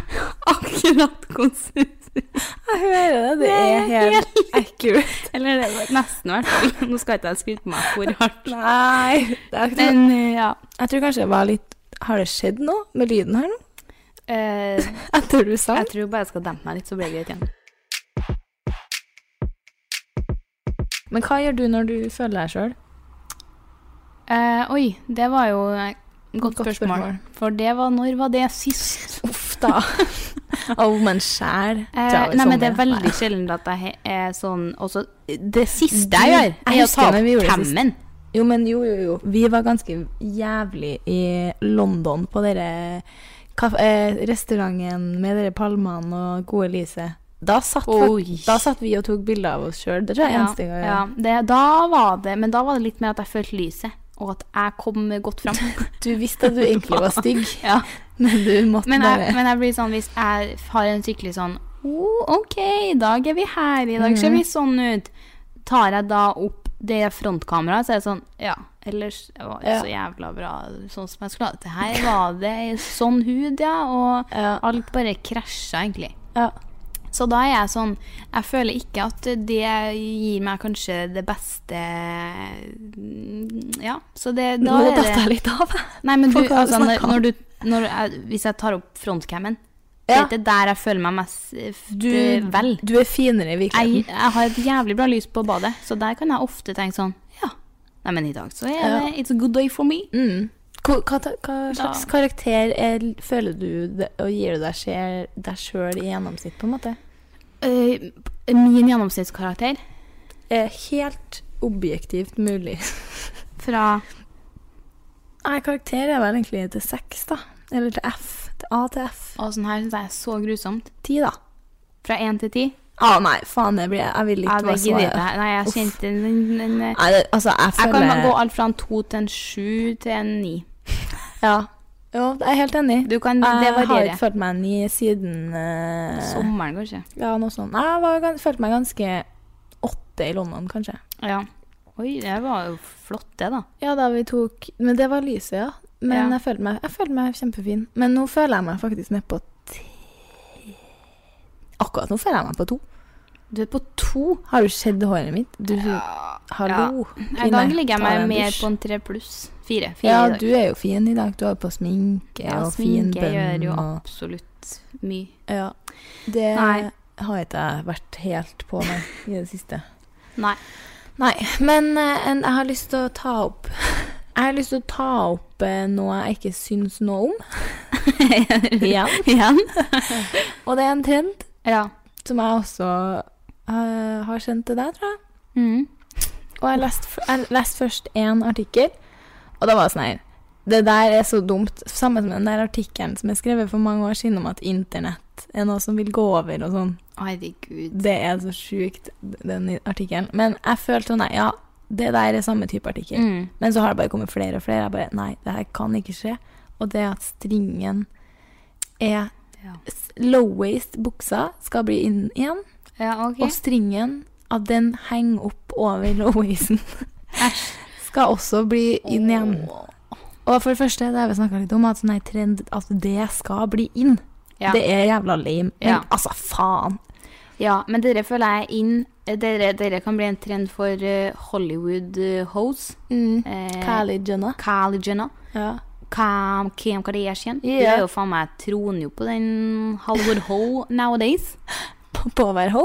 akkurat hvordan Jeg hører det. Det er helt accurate. Eller det var nesten, i hvert fall. Nå skal ikke jeg skryte på meg for hardt. Nei. Det er ikke Men eh, ja. jeg tror kanskje det var litt Har det skjedd noe med lyden her nå? Eh, Etter du sang? jeg tror bare jeg skal dempe meg litt, så blir det greit igjen. Men hva gjør du når du føler deg sjøl? Eh, oi, det var jo et godt, Godt spørsmål. spørsmål. For det var Når var det sist? Uff da. Å, men sjæl. Eh, nei, men det er veldig sjelden at jeg he- er sånn Også det siste jeg gjør, Du, jeg er å husker ta når vi opp gjorde det sist. temmen. Jo, men jo, jo, jo. Vi var ganske jævlig i London på dere kaf- eh, restauranten med dere palmene og gode lyset. Da satt, fak- Oi. da satt vi og tok bilder av oss sjøl. Det tror jeg er eneste gang. ja. Det, da var det, men da var det litt mer at jeg følte lyset, og at jeg kom godt fram. Du visste at du egentlig var stygg, ja. men du måtte men, jeg, bare men jeg blir sånn, hvis jeg har en skikkelig sånn oh, OK, i dag er vi her, i dag ser Mm. vi sånn ut. Tar jeg da opp det frontkameraet, så er det sånn Ja, ellers det var det Ja. så jævla bra sånn som jeg skulle ha det. Her var det sånn hud, ja, og Ja. alt bare krasja, egentlig. Ja. Så da er jeg sånn Jeg føler ikke at det gir meg kanskje det beste Ja, så det da Nå er datt jeg det litt av. Nei, men du, Folk har altså, når, snakket om- når du når jeg, Hvis jeg tar opp frontcammen, så Ja. er det der jeg føler meg mest eh, f- Du, vel. du er finere i virkeligheten. Jeg, jeg har et jævlig bra lys på badet, så der kan jeg ofte tenke sånn Ja, nei, men i dag så er Ja. det It's a good day for me. Mm. Hva, hva, ta- hva slags karakter er, føler du det, og gir du deg sjel- deg sjøl i gjennomsnitt, på en måte? Eh, min gjennomsnittskarakter Er helt objektivt mulig. fra Nei, karakter er vel egentlig til seks, da. Eller til F. Til A til F. Og sånn her syns jeg er så grusomt. Ti, da. Fra én til ti. Å nei, faen, jeg, blir, jeg vil Ja, ikke det være gidder svaret. jeg ikke. Nei, jeg Uff. kjente en, en, en eh, Jeg Nei, det, altså, jeg kan føler bare gå alt fra en to til en sju til en ni. Ja. Jo, jeg er helt enig. Du kan, det Jeg har varierer. ikke følt meg ni siden eh, Sommeren, kanskje. Ja, noe sånt. Nei, Jeg var, gans- følte meg ganske åtte i London, kanskje. Ja. Oi, det var jo flott, det, da. Ja, da vi tok Men det var lyset, ja. Men Ja. Jeg, følte meg, jeg følte meg kjempefin. Men nå føler jeg meg faktisk nede på ti Akkurat nå føler jeg meg på to. Du er på to. Har du sett håret mitt? Du, Hallo. I dag kvinne. ligger jeg Ta meg deg en mer dusj. på en tre pluss. Fire. Fire Ja, i dag. du er jo fin i dag. Du har jo på sminke ja, og fin sminke gjør bønn jo og absolutt mye. ja. Det Nei. har ikke jeg vært helt på meg i det siste. Nei. Nei, men eh, en, jeg har lyst til å ta opp Jeg har lyst til å ta opp eh, noe jeg ikke syns noe om. Igjen. Igjen? Og det er en trend Ja. som jeg også eh, har kjent til deg, tror jeg. Mm. Og jeg leste, f- jeg leste først én artikkel, og da var det sånn her Det der er så dumt. Samme som den der artikkelen som er skrevet for mange år siden om at internett er noe som vil gå over og sånn. Herregud. Det er så sjukt, den i- artikkelen. Men jeg følte sånn Nei, ja, det der er samme type artikkel. Mm. Men så har det bare kommet flere og flere. Jeg bare Nei, det her kan ikke skje. Og det at stringen er Ja. s- Low-waist-buksa skal bli inn igjen. ja, OK. Og stringen, at den henger opp over low-waisten, skal også bli inn igjen. Og for det første, det har vi snakka litt om, at sånn her trend at det skal bli inn. Ja. Det er jævla lame. Men Ja. altså, faen. Ja, men dere føler jeg inn Eh, Dere, dere kan bli en trend for eh, Hollywood uh, hoes. Mm. Eh, Kylie Jenner. Kylie Jenner. Ja. Kam, Kim Kardashian. Ja. Hun er jo faen meg troner jo på den Hollywood hoe nowadays. På, på hver ho.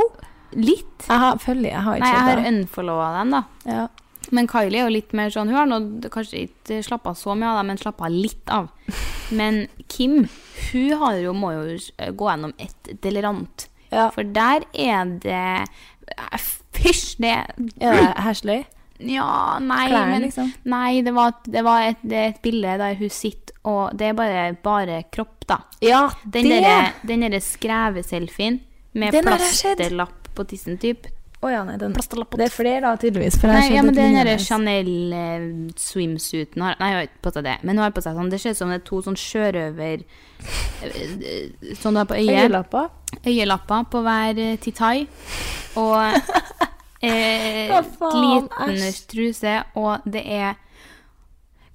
Litt. Jeg har, følger, jeg har Nei, ikke jeg har sett det. unfollowa dem, da. Ja. Men Kylie er jo litt mer sånn Hun har nå kanskje ikke slappa så mye av det, men slappa litt av. Men Kim, hun har jo, må jo eh, gå gjennom et eller annet. Ja. For der er det eh, Fysj, det Er det Hashley? Ja, nei, Klærne, men liksom? Nei, det var, det var et, det er et bilde der hun sitter, og det er bare, bare kropp, da. Ja, Den derre den derre skreveselfien med Den har jeg sett. plasterlapp på tissen, typ. Å ja, nei, den Plasterlapp på Det er flere, da, tydeligvis. For jeg har Nei, ja, sett men et den derre lignende. Chanel-swimsuiten har Nei, hun har ikke på seg det, men hun har på seg sånn Det ser ut som det er to sånn sjørøver eh, Sånn du har på øyet. Øyelapper. Øyelapper på hver eh, titai. Og eh, Hva faen, liten æsj. truse, og det er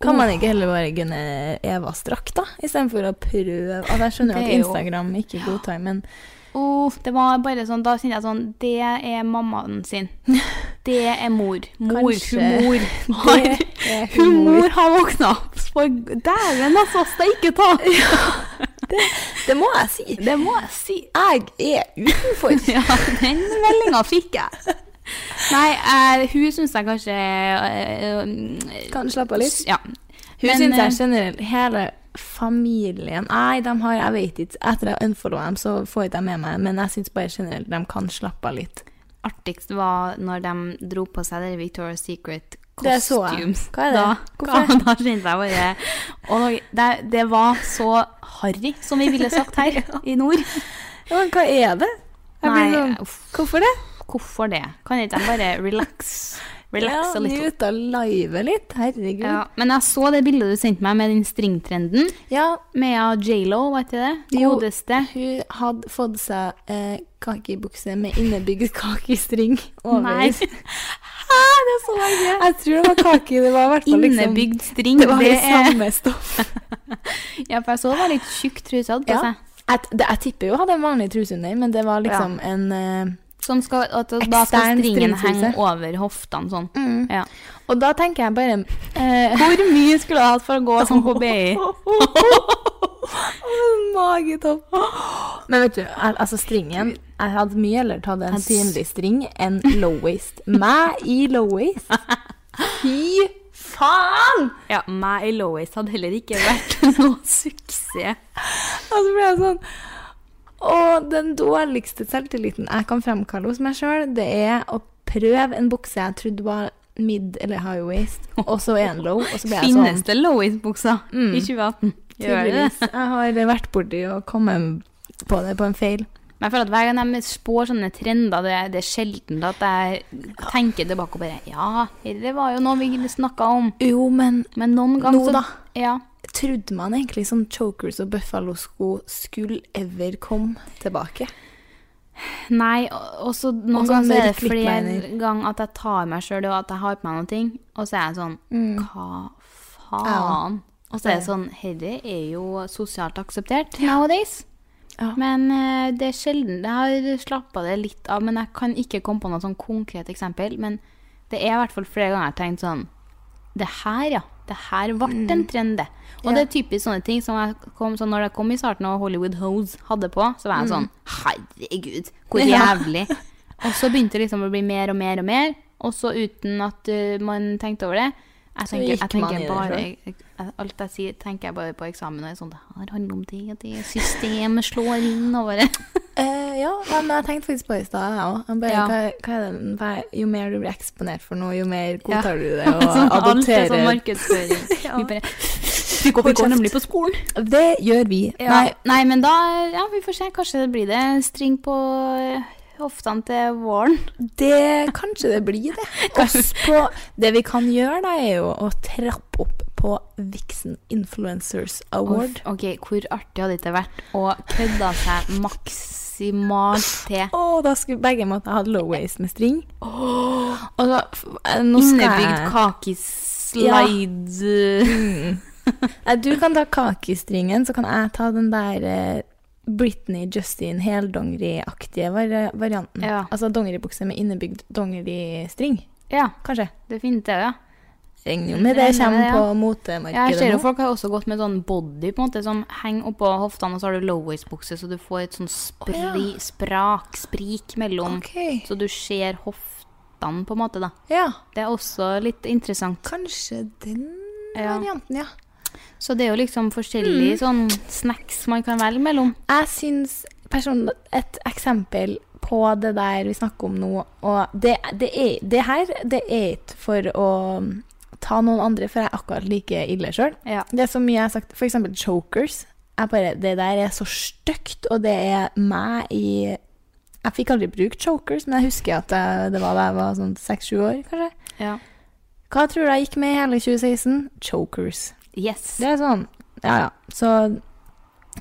Kan man ikke heller bare gunne Evas drakt, da? Istedenfor å prøve altså, Jeg skjønner jo at Det er jo- Instagram ikke godtar, men Uff, det var bare sånn, da kjente jeg sånn Det er mammaen sin. Det er mor. Mor. Kanskje Humor. det Har, er humor. humor har våkna opp. For Dæven, altså! Steike ta! Det må jeg si. Det må jeg si. Jeg er utenfor. Ja, den meldinga fikk jeg. Nei, eh, hun syns jeg kanskje eh, eh, Kan slappe av litt. Ja. Hun Men, syns eh, jeg generelt Hele familien Nei, de har Jeg vet ikke. Etter jeg unfollowa dem, så får jeg ikke dem med meg, men jeg syns bare generelt de kan slappe av litt. Artigst var når de dro på seg det Victoria's Secret Det så jeg. costumes. Hva er det? Da, Hvorfor? da, da kjente jeg bare Og det, det var så harry, som vi ville sagt her i nord. Ja, men hva er det? Jeg Nei, blir sånn uff, Hvorfor det? hvorfor det? Kan ikke de bare relax? Relax ja, a little. Njut av livet litt. Herregud. Ja, men jeg så det bildet du sendte meg med den stringtrenden. ja Med J.Lo, var ikke det? Jo. Godeste. Hun hadde fått seg eh, kakebukse med innebygd kakestring over. Nei. Hæ, det så jeg ikke! Jeg tror det var kake. Det var i hvert fall liksom Innebygd string. Det var i er- samme stoff. Ja, for jeg så det var litt tjukk truse altså. hun hadde på Ja. seg. Jeg, t- det, jeg tipper jo hadde en vanlig truse under, men det var liksom en eh, Som Sånn skal, at da skal Ekstern stringen henge stringtruse. over hoftene sånn. Ja. Og da tenker jeg bare eh, Hvor mye skulle jeg hatt for å gå sånn på BI? Magetopp. Men vet du, al- altså stringen Jeg hadde mye heller tatt en synlig string enn low waist. Meg i low waist. Fy faen! Ja, meg i Lois hadde heller ikke vært noe suksess. Og så ble jeg sånn Å, den dårligste selvtilliten jeg kan fremkalle hos meg sjøl, det er å prøve en bukse jeg trodde var mid eller high waist, og så er den low, og så ble jeg sånn Finnes det Lois-bukser i 2018? Gjør det Tydeligvis. det? Jeg har vært borti å komme på det på en feil. Men jeg føler at hver gang jeg spår sånne trender, det er, det er sjelden at jeg tenker tilbake og bare Ja, det var jo noe vi snakka om. Jo, men Men noen ganger Nå så- da. Ja. trodde man egentlig sånn chokers og buffalosko skulle ever komme tilbake? Nei, og og så noen Og så ganger så er det mørk flere lippliner. ganger at jeg tar meg sjøl og at jeg har på meg noen ting, og så er jeg sånn Mm. Hva faen? Og så er det sånn Dette er jo sosialt akseptert nowadays. Ja. Men eh, det er sjelden. Jeg har slappa det litt av. Men jeg kan ikke komme på noe sånn konkret eksempel. Men det er i hvert fall flere ganger jeg har tenkt sånn Det her, ja. Det her ble en Mm. trend, det. Og det er typisk sånne ting som jeg kom, sånn når jeg kom i starten og Hollywood Hoes hadde på, så var jeg sånn Herregud, hvor Mm. Ja. jævlig. og så begynte det liksom å bli mer og mer og mer. Og så uten at uh, man tenkte over det. Jeg tenker, jeg gikk man tenker i det bare selv. jeg- jeg- Alt jeg sier, tenker jeg bare på eksamen. Og jeg er sånn, det her handler om det, og det systemet slår inn over det. Eh, ja, ja, men jeg tenkte faktisk på det i stad, jeg òg. Ja. Hva, hva er det- hva er- jo mer du blir eksponert for noe, jo mer godtar du det og Sånn, alt er sånn adopterer. markedsføring. Vi bare Vi går, vi går nemlig på skolen. Det gjør vi. Nei, Nei, nei, men da Ja, vi får se. Kanskje det blir det string på eh, hoftene til våren. det kanskje det blir det. Oss på, det vi kan gjøre, da, er jo å trappe opp på Vixen Influencers Award. Uff, Ok, hvor artig hadde det ikke vært å kødde seg maksimalt til Å, da skulle begge måtte ha hatt low waist med string. Og så f- eh, nå skal innebygd jeg- kakeslide Nei, Eh, Du kan ta kakestringen, så kan jeg ta den der eh, Britney Justin heldongeriaktige var eh, varianten. Ja. Altså dongeribukse med innebygd dongeristring, Ja, kanskje. det er fint, det, ja. Regner jo med det kommer Mm, Regner med det, på ja. Ja, jeg motemarkedet ser jo nå. folk har også gått med sånn body på en måte som henger oppå hoftene, og så har du low-waist-bukse, så du får et sånn spri, Å, sprak, sprik mellom Ok. Så du ser hoftene, på en måte, da. Ja, Det er også litt interessant. kanskje den Ja. varianten, ja. Så det er jo liksom forskjellige sånn snacks man kan velge mellom. Jeg syns person- et eksempel på det der vi snakker om nå, og det, det, er, det her det er ikke for å um, ta noen andre, for jeg er akkurat like ille sjøl. Ja. Det er så mye jeg har sagt, f.eks. chokers. Jeg bare, det der er så stygt, og det er meg i Jeg fikk aldri brukt chokers, men jeg husker at jeg, det var da jeg var sånn seks-sju år, kanskje. Ja. Hva tror du jeg gikk med i hele 2016? Chokers. Yes. Det er sånn Ja, ja. Så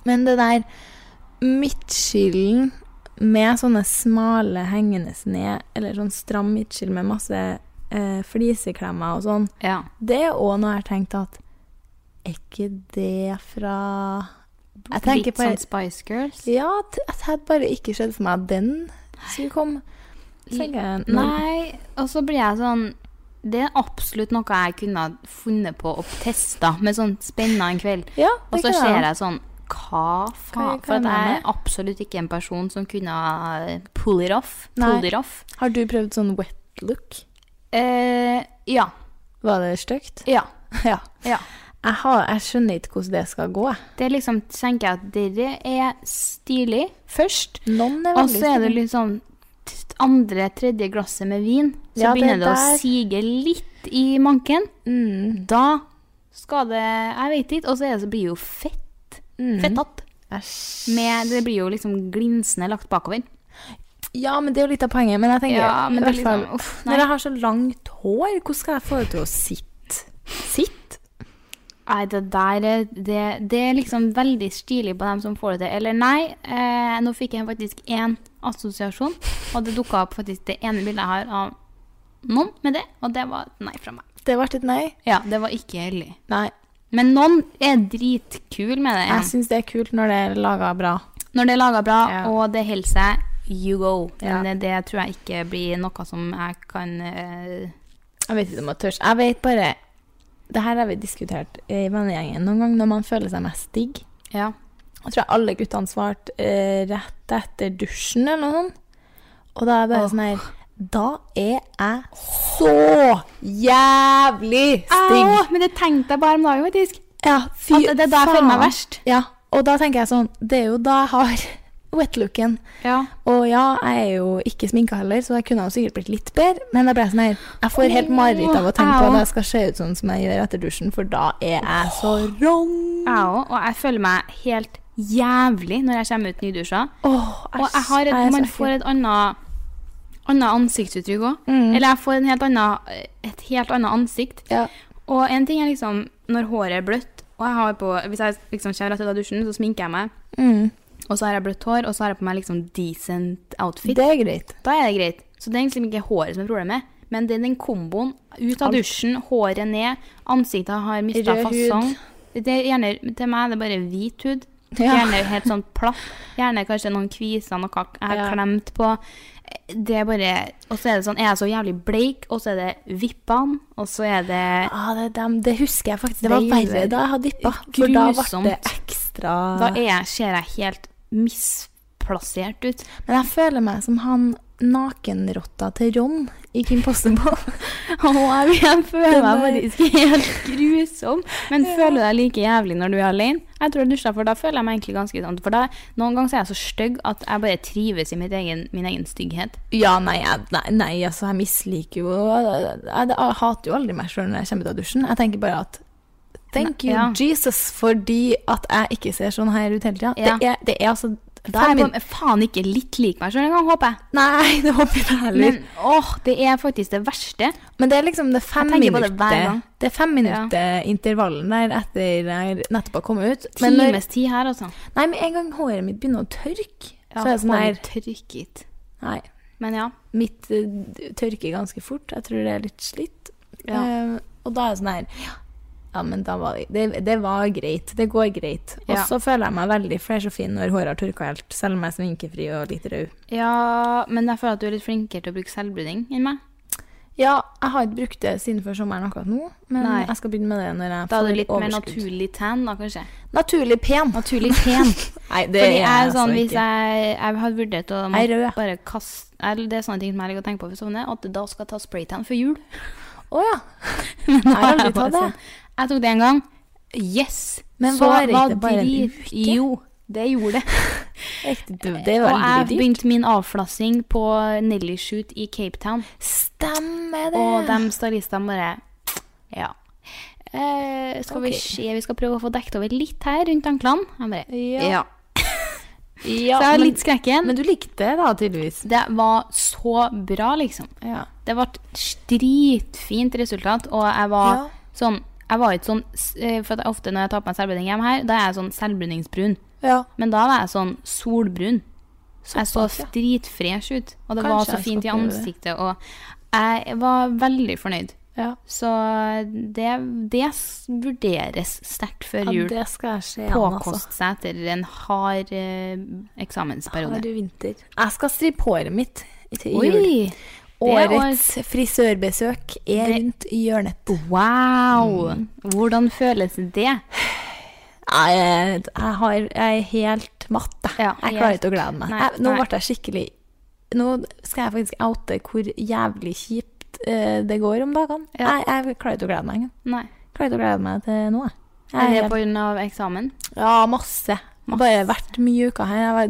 Men det der midtskillen med sånne smale hengende ned, eller sånn stram midtskill med masse eh, fliseklemmer og sånn, Ja. det er òg noe jeg har tenkt at Er ikke det fra Jeg tenker litt bare sånn Spice Girls. Ja, t- jeg hadde bare ikke skjedd for meg at den skulle komme. Så tenker jeg, Mm. nei. Nei, og så blir jeg sånn Det er absolutt noe jeg kunne ha funnet på og testa med sånn spennende en kveld. Ja, det Og så kan ser jeg. jeg sånn Hva faen? hva For at mener jeg du? er absolutt ikke en person som kunne ha pull it off. Nei. Pulled it off. Har du prøvd sånn wet look? Eh, ja. Var det stygt? Ja. Ja. ja. Jeg, har, jeg skjønner ikke hvordan det skal gå. jeg. Det er liksom tenker jeg at dere er stilig først, Noen er og veldig så er det stilig. liksom t- andre, tredje glasset med vin, så Ja, det begynner det der- å Mm. sige litt i manken. Da skal det Jeg vet ikke. Og så er det- så blir det jo fett. Fettatt. Mm. Æsj. Med, det blir jo liksom glinsende lagt bakover. Ja, men det er jo litt av poenget. Men jeg tenker Ja, men i det er hvert litt fall, sånn, uff, nei. Når jeg har så langt hår, hvordan skal jeg få det til å sitte? Sitt? Nei, det der er det, det er liksom veldig stilig på dem som får det til. Eller nei, eh, nå fikk jeg faktisk én assosiasjon, og det dukka opp faktisk det ene bildet jeg har av noen med det, og det var et nei fra meg. Det ble et nei. Ja, det var ikke heldig. Nei. Men noen er dritkul med det. Jeg syns det er kult når det er laga bra. Når det er laga bra, Ja. og det holder seg, you go. Ja. Men det, det tror jeg ikke blir noe som jeg kan eh, Jeg vet ikke om jeg tør. Jeg vet bare Det her har vi diskutert i vennegjengen noen gang, når man føler seg mest digg. Ja. Jeg tror alle guttene svarte eh, rett etter dusjen eller noe sånt. Og da er jeg bare sånn her Da er jeg så jævlig stygg! Au, men det tenkte jeg bare om dagen, faktisk. Ja, fy At det er da jeg føler meg verst. Ja, og da tenker jeg sånn Det er jo da jeg har wetlooken. Ja. Og ja, jeg er jo ikke sminka heller, så jeg kunne jo sikkert blitt litt bedre. Men jeg ble sånn her Jeg får helt mareritt av å tenke på at jeg skal se ut sånn som jeg gjør etter dusjen, for da er jeg så wrong. Jeg òg. Og jeg føler meg helt jævlig når jeg kommer ut nydusja. Åh, Og jeg har et, jeg er så man ekkel. får et annet, annet ansiktsuttrykk òg. Eller jeg får en helt annen, et helt annet ansikt. Ja. Og en ting er liksom når håret er bløtt, og jeg har på Hvis jeg liksom kommer rett ut av dusjen, så sminker jeg meg, Mm. og så har jeg bløtt hår, og så har jeg på meg liksom decent outfit. Det er greit. Da er det greit. Så det er egentlig ikke håret som er problemet, men det er den komboen. Ut av dusjen, håret ned, ansiktet har mista Rød hud. fasong. Det er gjerne, til meg er det bare hvit hud. Ja. Gjerne helt sånn platt. Gjerne kanskje noen kviser, noe jeg har Ja. klemt på. Det er bare Og så er det sånn, er jeg så jævlig bleik, og så er det vippene, og så er det Ja, det, er dem. det husker jeg faktisk. Det Det var gjør verre da jeg hadde dippa. For da ble det grusomt. ekstra Da er jeg, ser jeg helt misplassert ut. Men jeg føler meg som han nakenrotta til Ron i Kim Possible. Å, jeg, jeg føler Den meg der- faktisk helt grusom. Men føler du deg like jævlig når du er alene? Jeg tror jeg dusja, for da føler jeg meg egentlig ganske sånn. For da, noen ganger så er jeg så stygg at jeg bare trives i mitt egen, min egen stygghet. Ja, nei, jeg, nei, nei, altså, jeg misliker jo Jeg, jeg, jeg hater jo aldri meg sjøl når jeg kommer ut av dusjen. Jeg tenker bare at Thank Nei, you, ja. Jesus, fordi at jeg ikke ser sånn her ut hele tida. Ja. Det, er- det er altså Da er jeg min, på, faen ikke litt lik meg sjøl engang, håper jeg. Nei, det håper jeg ikke heller. Men Men, åh, det er faktisk det verste. det er liksom det fem Jeg tenker på det hver minutter gang. Det er fem minutter intervallen der etter jeg nettopp har kommet ut. Men når, Times tid her, altså. nei, med en gang håret mitt begynner å tørke, Ja, så er det sånn håret her tørket. Nei. Men ja. mitt eh, tørker ganske fort. Jeg tror det er litt slitt. Ja. Eh, og da er jeg sånn her ja, Ja, men da var det, det Det var greit. Det går greit. Og Ja. så føler jeg meg veldig fresh og fin når håret har tørka helt, selv om jeg er sminkefri og litt rød. ja, men jeg føler at du er litt flinkere til å bruke selvbruding enn meg. Ja, jeg har ikke brukt det siden før sommeren akkurat nå, men Nei. jeg skal begynne med det når jeg Da er du får litt mer overskudd. naturlig tan, da, kanskje. naturlig pen. Naturlig pen. Nei, det Fordi er jeg er altså sånn, hvis ikke. jeg, jeg har vurdert å Jeg er rød, ja. bare kaste eller Det er sånne ting som jeg liker å tenke på for sånne, at da skal jeg ta spraytan før jul. Å ja. Men Jeg har da er aldri bare tatt det. sånn, Jeg tok det en gang. Yes! Men så varer ikke var det bare en drit- uke? Jo, det gjorde det. Riktig, du, Det er Og jeg veldig dyrt. begynte min avflassing på Nelly Shoot i Cape Town. Stemmer det. Og de stylistene bare Ja. Eh, skal vi Ok. se, vi skal prøve å få dekket over litt her rundt anklene. Jeg bare Ja. Så ja, jeg har men, litt skrekken. men du likte det da, tydeligvis. Det var så bra, liksom. Ja. Det ble et dritfint resultat, og jeg var Ja. sånn Jeg var ikke sånn s- eh, For at jeg ofte når jeg tar på meg selvbruning hjemme her, da er jeg sånn selvbruningsbrun. ja. Men da var jeg sånn solbrun. jeg så Såpass, ja. dritfresh ut, og det Kanskje var jeg så skal fint i prøve det. ansiktet, og jeg var veldig fornøyd. Ja. Så det, det s- vurderes sterkt før Ja, jul. det skal jeg se an, altså. Påkoste seg etter en hard eh, eksamensperiode. Har du vinter? Jeg skal strippe håret mitt til jul. Oi! Årets frisørbesøk er Det- rundt hjørnet. Wow! Mm. Hvordan føles det? Jeg, jeg, har, jeg er helt matt. jeg. Ja, jeg helt. klarer ikke å glede meg. Nei, jeg, nå nei. ble jeg skikkelig Nå skal jeg faktisk oute hvor jævlig kjipt eh, det går om dagene. Ja. Jeg, jeg klarer ikke å glede meg engang. Nei. Klarer ikke å glede meg til nå, jeg. jeg Er er det helt- pga. eksamen? Ja, masse. Masse. Bare vært mye i uka her. Jeg var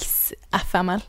riks-FML.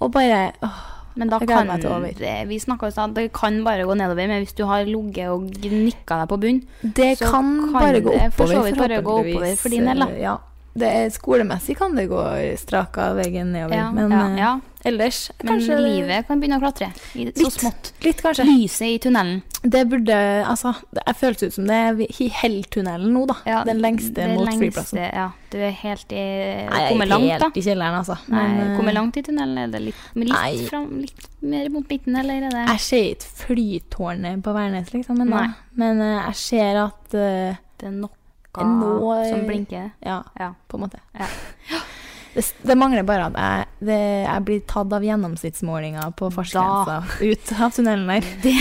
Og bare åh, Men da Jeg gleder kan meg til over. det, vi snakket også, det kan bare gå nedover, men hvis du har ligget og gnikka deg på bunnen Det Så kan, kan bare gå det oppover, for så vidt bare gå forhåpentligvis. oppover for din del, da. Ja. Det er, skolemessig kan det gå straka veien nedover, ja, men ja, eh, ja. ellers Men kanskje det- livet kan begynne å klatre. I, så Litt. smått. Litt, kanskje. Lyset i tunnelen. Det burde Altså, det jeg føles ut som det er vi- i Helltunnelen nå, da. den lengste det mot lengste, flyplassen. Ja, du er helt i jeg er Kommet langt, helt da. i kjelleren, altså. Nei, Men, eh, Kommet langt i tunnelen? Er det litt, men nei. litt, fram, litt mer mot midten, eller er det Jeg ser ikke flytårnet på Værnes, liksom, men, da, Nei. men eh, jeg ser at eh, det er noe nå som blinker. Ja, Ja. på en måte. Ja. Det, s- det mangler bare at jeg, det, jeg blir tatt av gjennomsnittsmålinga på fartsgrensa ut av tunnelen der.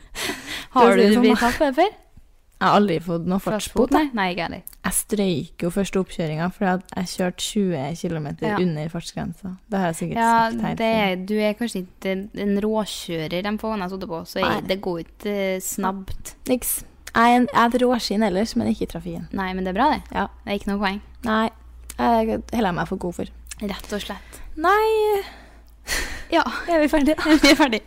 Har Det er du sånn, blitt tatt for det før? Jeg har aldri fått noe fartsbot. Nei, nei ikke heller. Jeg strøyk jo første oppkjøringa fordi at jeg kjørte 20 km Ja. under fartsgrensa. Det har jeg sikkert Ja, sagt her. det, før. du er kanskje ikke en råkjører de få gangene jeg har sittet på, så Nei. jeg, det går ikke eh, snabt. Niks. Jeg er, en, jeg er et råskinn ellers, men ikke i trafikken. Nei, men det er bra, det. Ja. Det er ikke noe poeng. Nei, jeg holder jeg meg for god for. Rett og slett. Nei, Ja, er vi ferdige? vi er ferdig.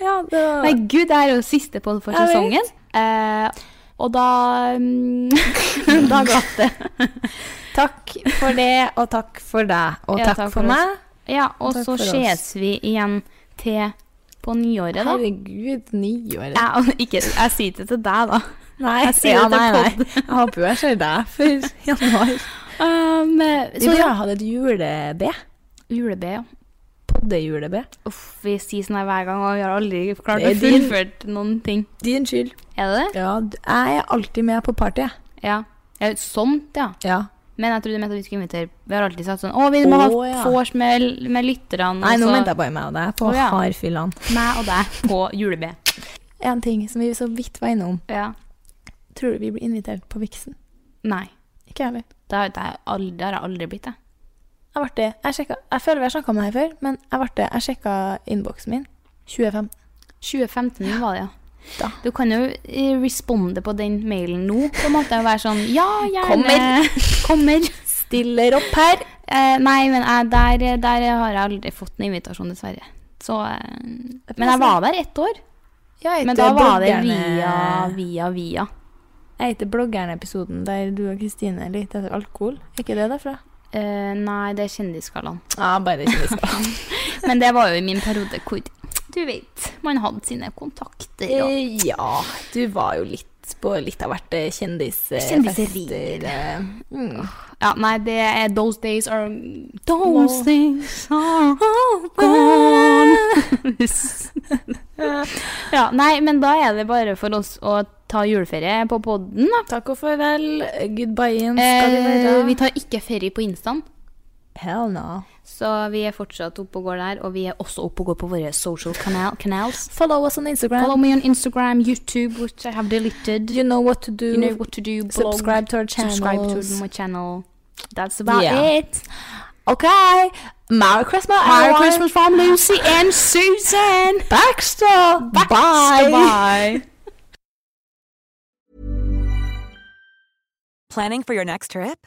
ja, det var... Nei, gud, det er jo siste podd for Jeg vet. sesongen. Eh, og da mm, Da glapp det. Takk for det, og takk for deg, og Ja, takk, takk for for meg. Ja, og Takk så for oss. ses vi igjen til på nyåret, da. Herregud, nyåret. Jeg, ikke, jeg sier det til deg, da. Nei, Jeg sier det til podd. Jeg håper jo jeg ser deg for januar. Um, Vi så burde ja. ha hatt et jule-B. Jule-B, ja. Podde-jule-B. Uff, vi sier sånn her hver gang, og vi har aldri klart Det å er din- fullføre noen ting. Din skyld. Er det det? Ja, du- jeg er alltid med på party, jeg. Ja. ja. Sånt, ja. Ja. Men jeg trodde du mente at vi skulle invitere Vi har alltid sagt sånn Å, vi må ha Å, ja. vors med, med lytterne. Nei, og nå så mente jeg bare meg og deg på Å, ja. hardfyllene. Meg og deg på jule-B. En ting som vi så vidt var innom. Ja. Tror du vi blir invitert på Vixen? Nei. Ikke jeg heller. Det har det har jeg aldri, det har jeg aldri blitt, jeg. Jeg ble det. Jeg, sjekka, jeg føler vi har snakka om det her før, men jeg ble det. Jeg sjekka innboksen min. 25. 2015 var det, ja. Da. Du kan jo eh, responde på den mailen nå, på en måte, og være sånn Ja, gjerne. Kommer. Kommer. Stiller opp her. Eh, nei, men jeg, der, der har jeg aldri fått en invitasjon, dessverre. Så, eh, men jeg var der ett år. Ja, jeg Men da heter var det bloggerne- via, via, via. Jeg heter Bloggerne-episoden der du og Kristine leter etter alkohol. Er ikke det derfra? Eh, nei, det er Kjendisgallaen. Ja, bare kjendisgallaen. Men det var jo i min periode hvor du vet, man hadde sine kontakter. Og Eh, ja, du var jo litt på litt av hvert eh, kjendis... eh, Kjendiserier. fester, eh. Mm. ja, nei, det er Those days are Those Nå. days are gone. ja, nei, men da er det bare for oss å ta juleferie på podden, da. Takk og farvel. Goodbyen skal vi Eh, være. vi tar ikke ferie på Instaen. Hell no. Så vi er fortsatt oppe og går der, og vi er også oppe og går på våre social canal canals. Follow us on Instagram. Follow me on Instagram, YouTube, which I have deleted. You know what to do. You know what to do. Blog. Subscribe to our Subscribe to channels. my channel. That's about Yeah. it. Okay. Merry Christmas. Merry everyone. Christmas from Lucy and Susan. Baxter. Bye. Bye. Planning for your next trip?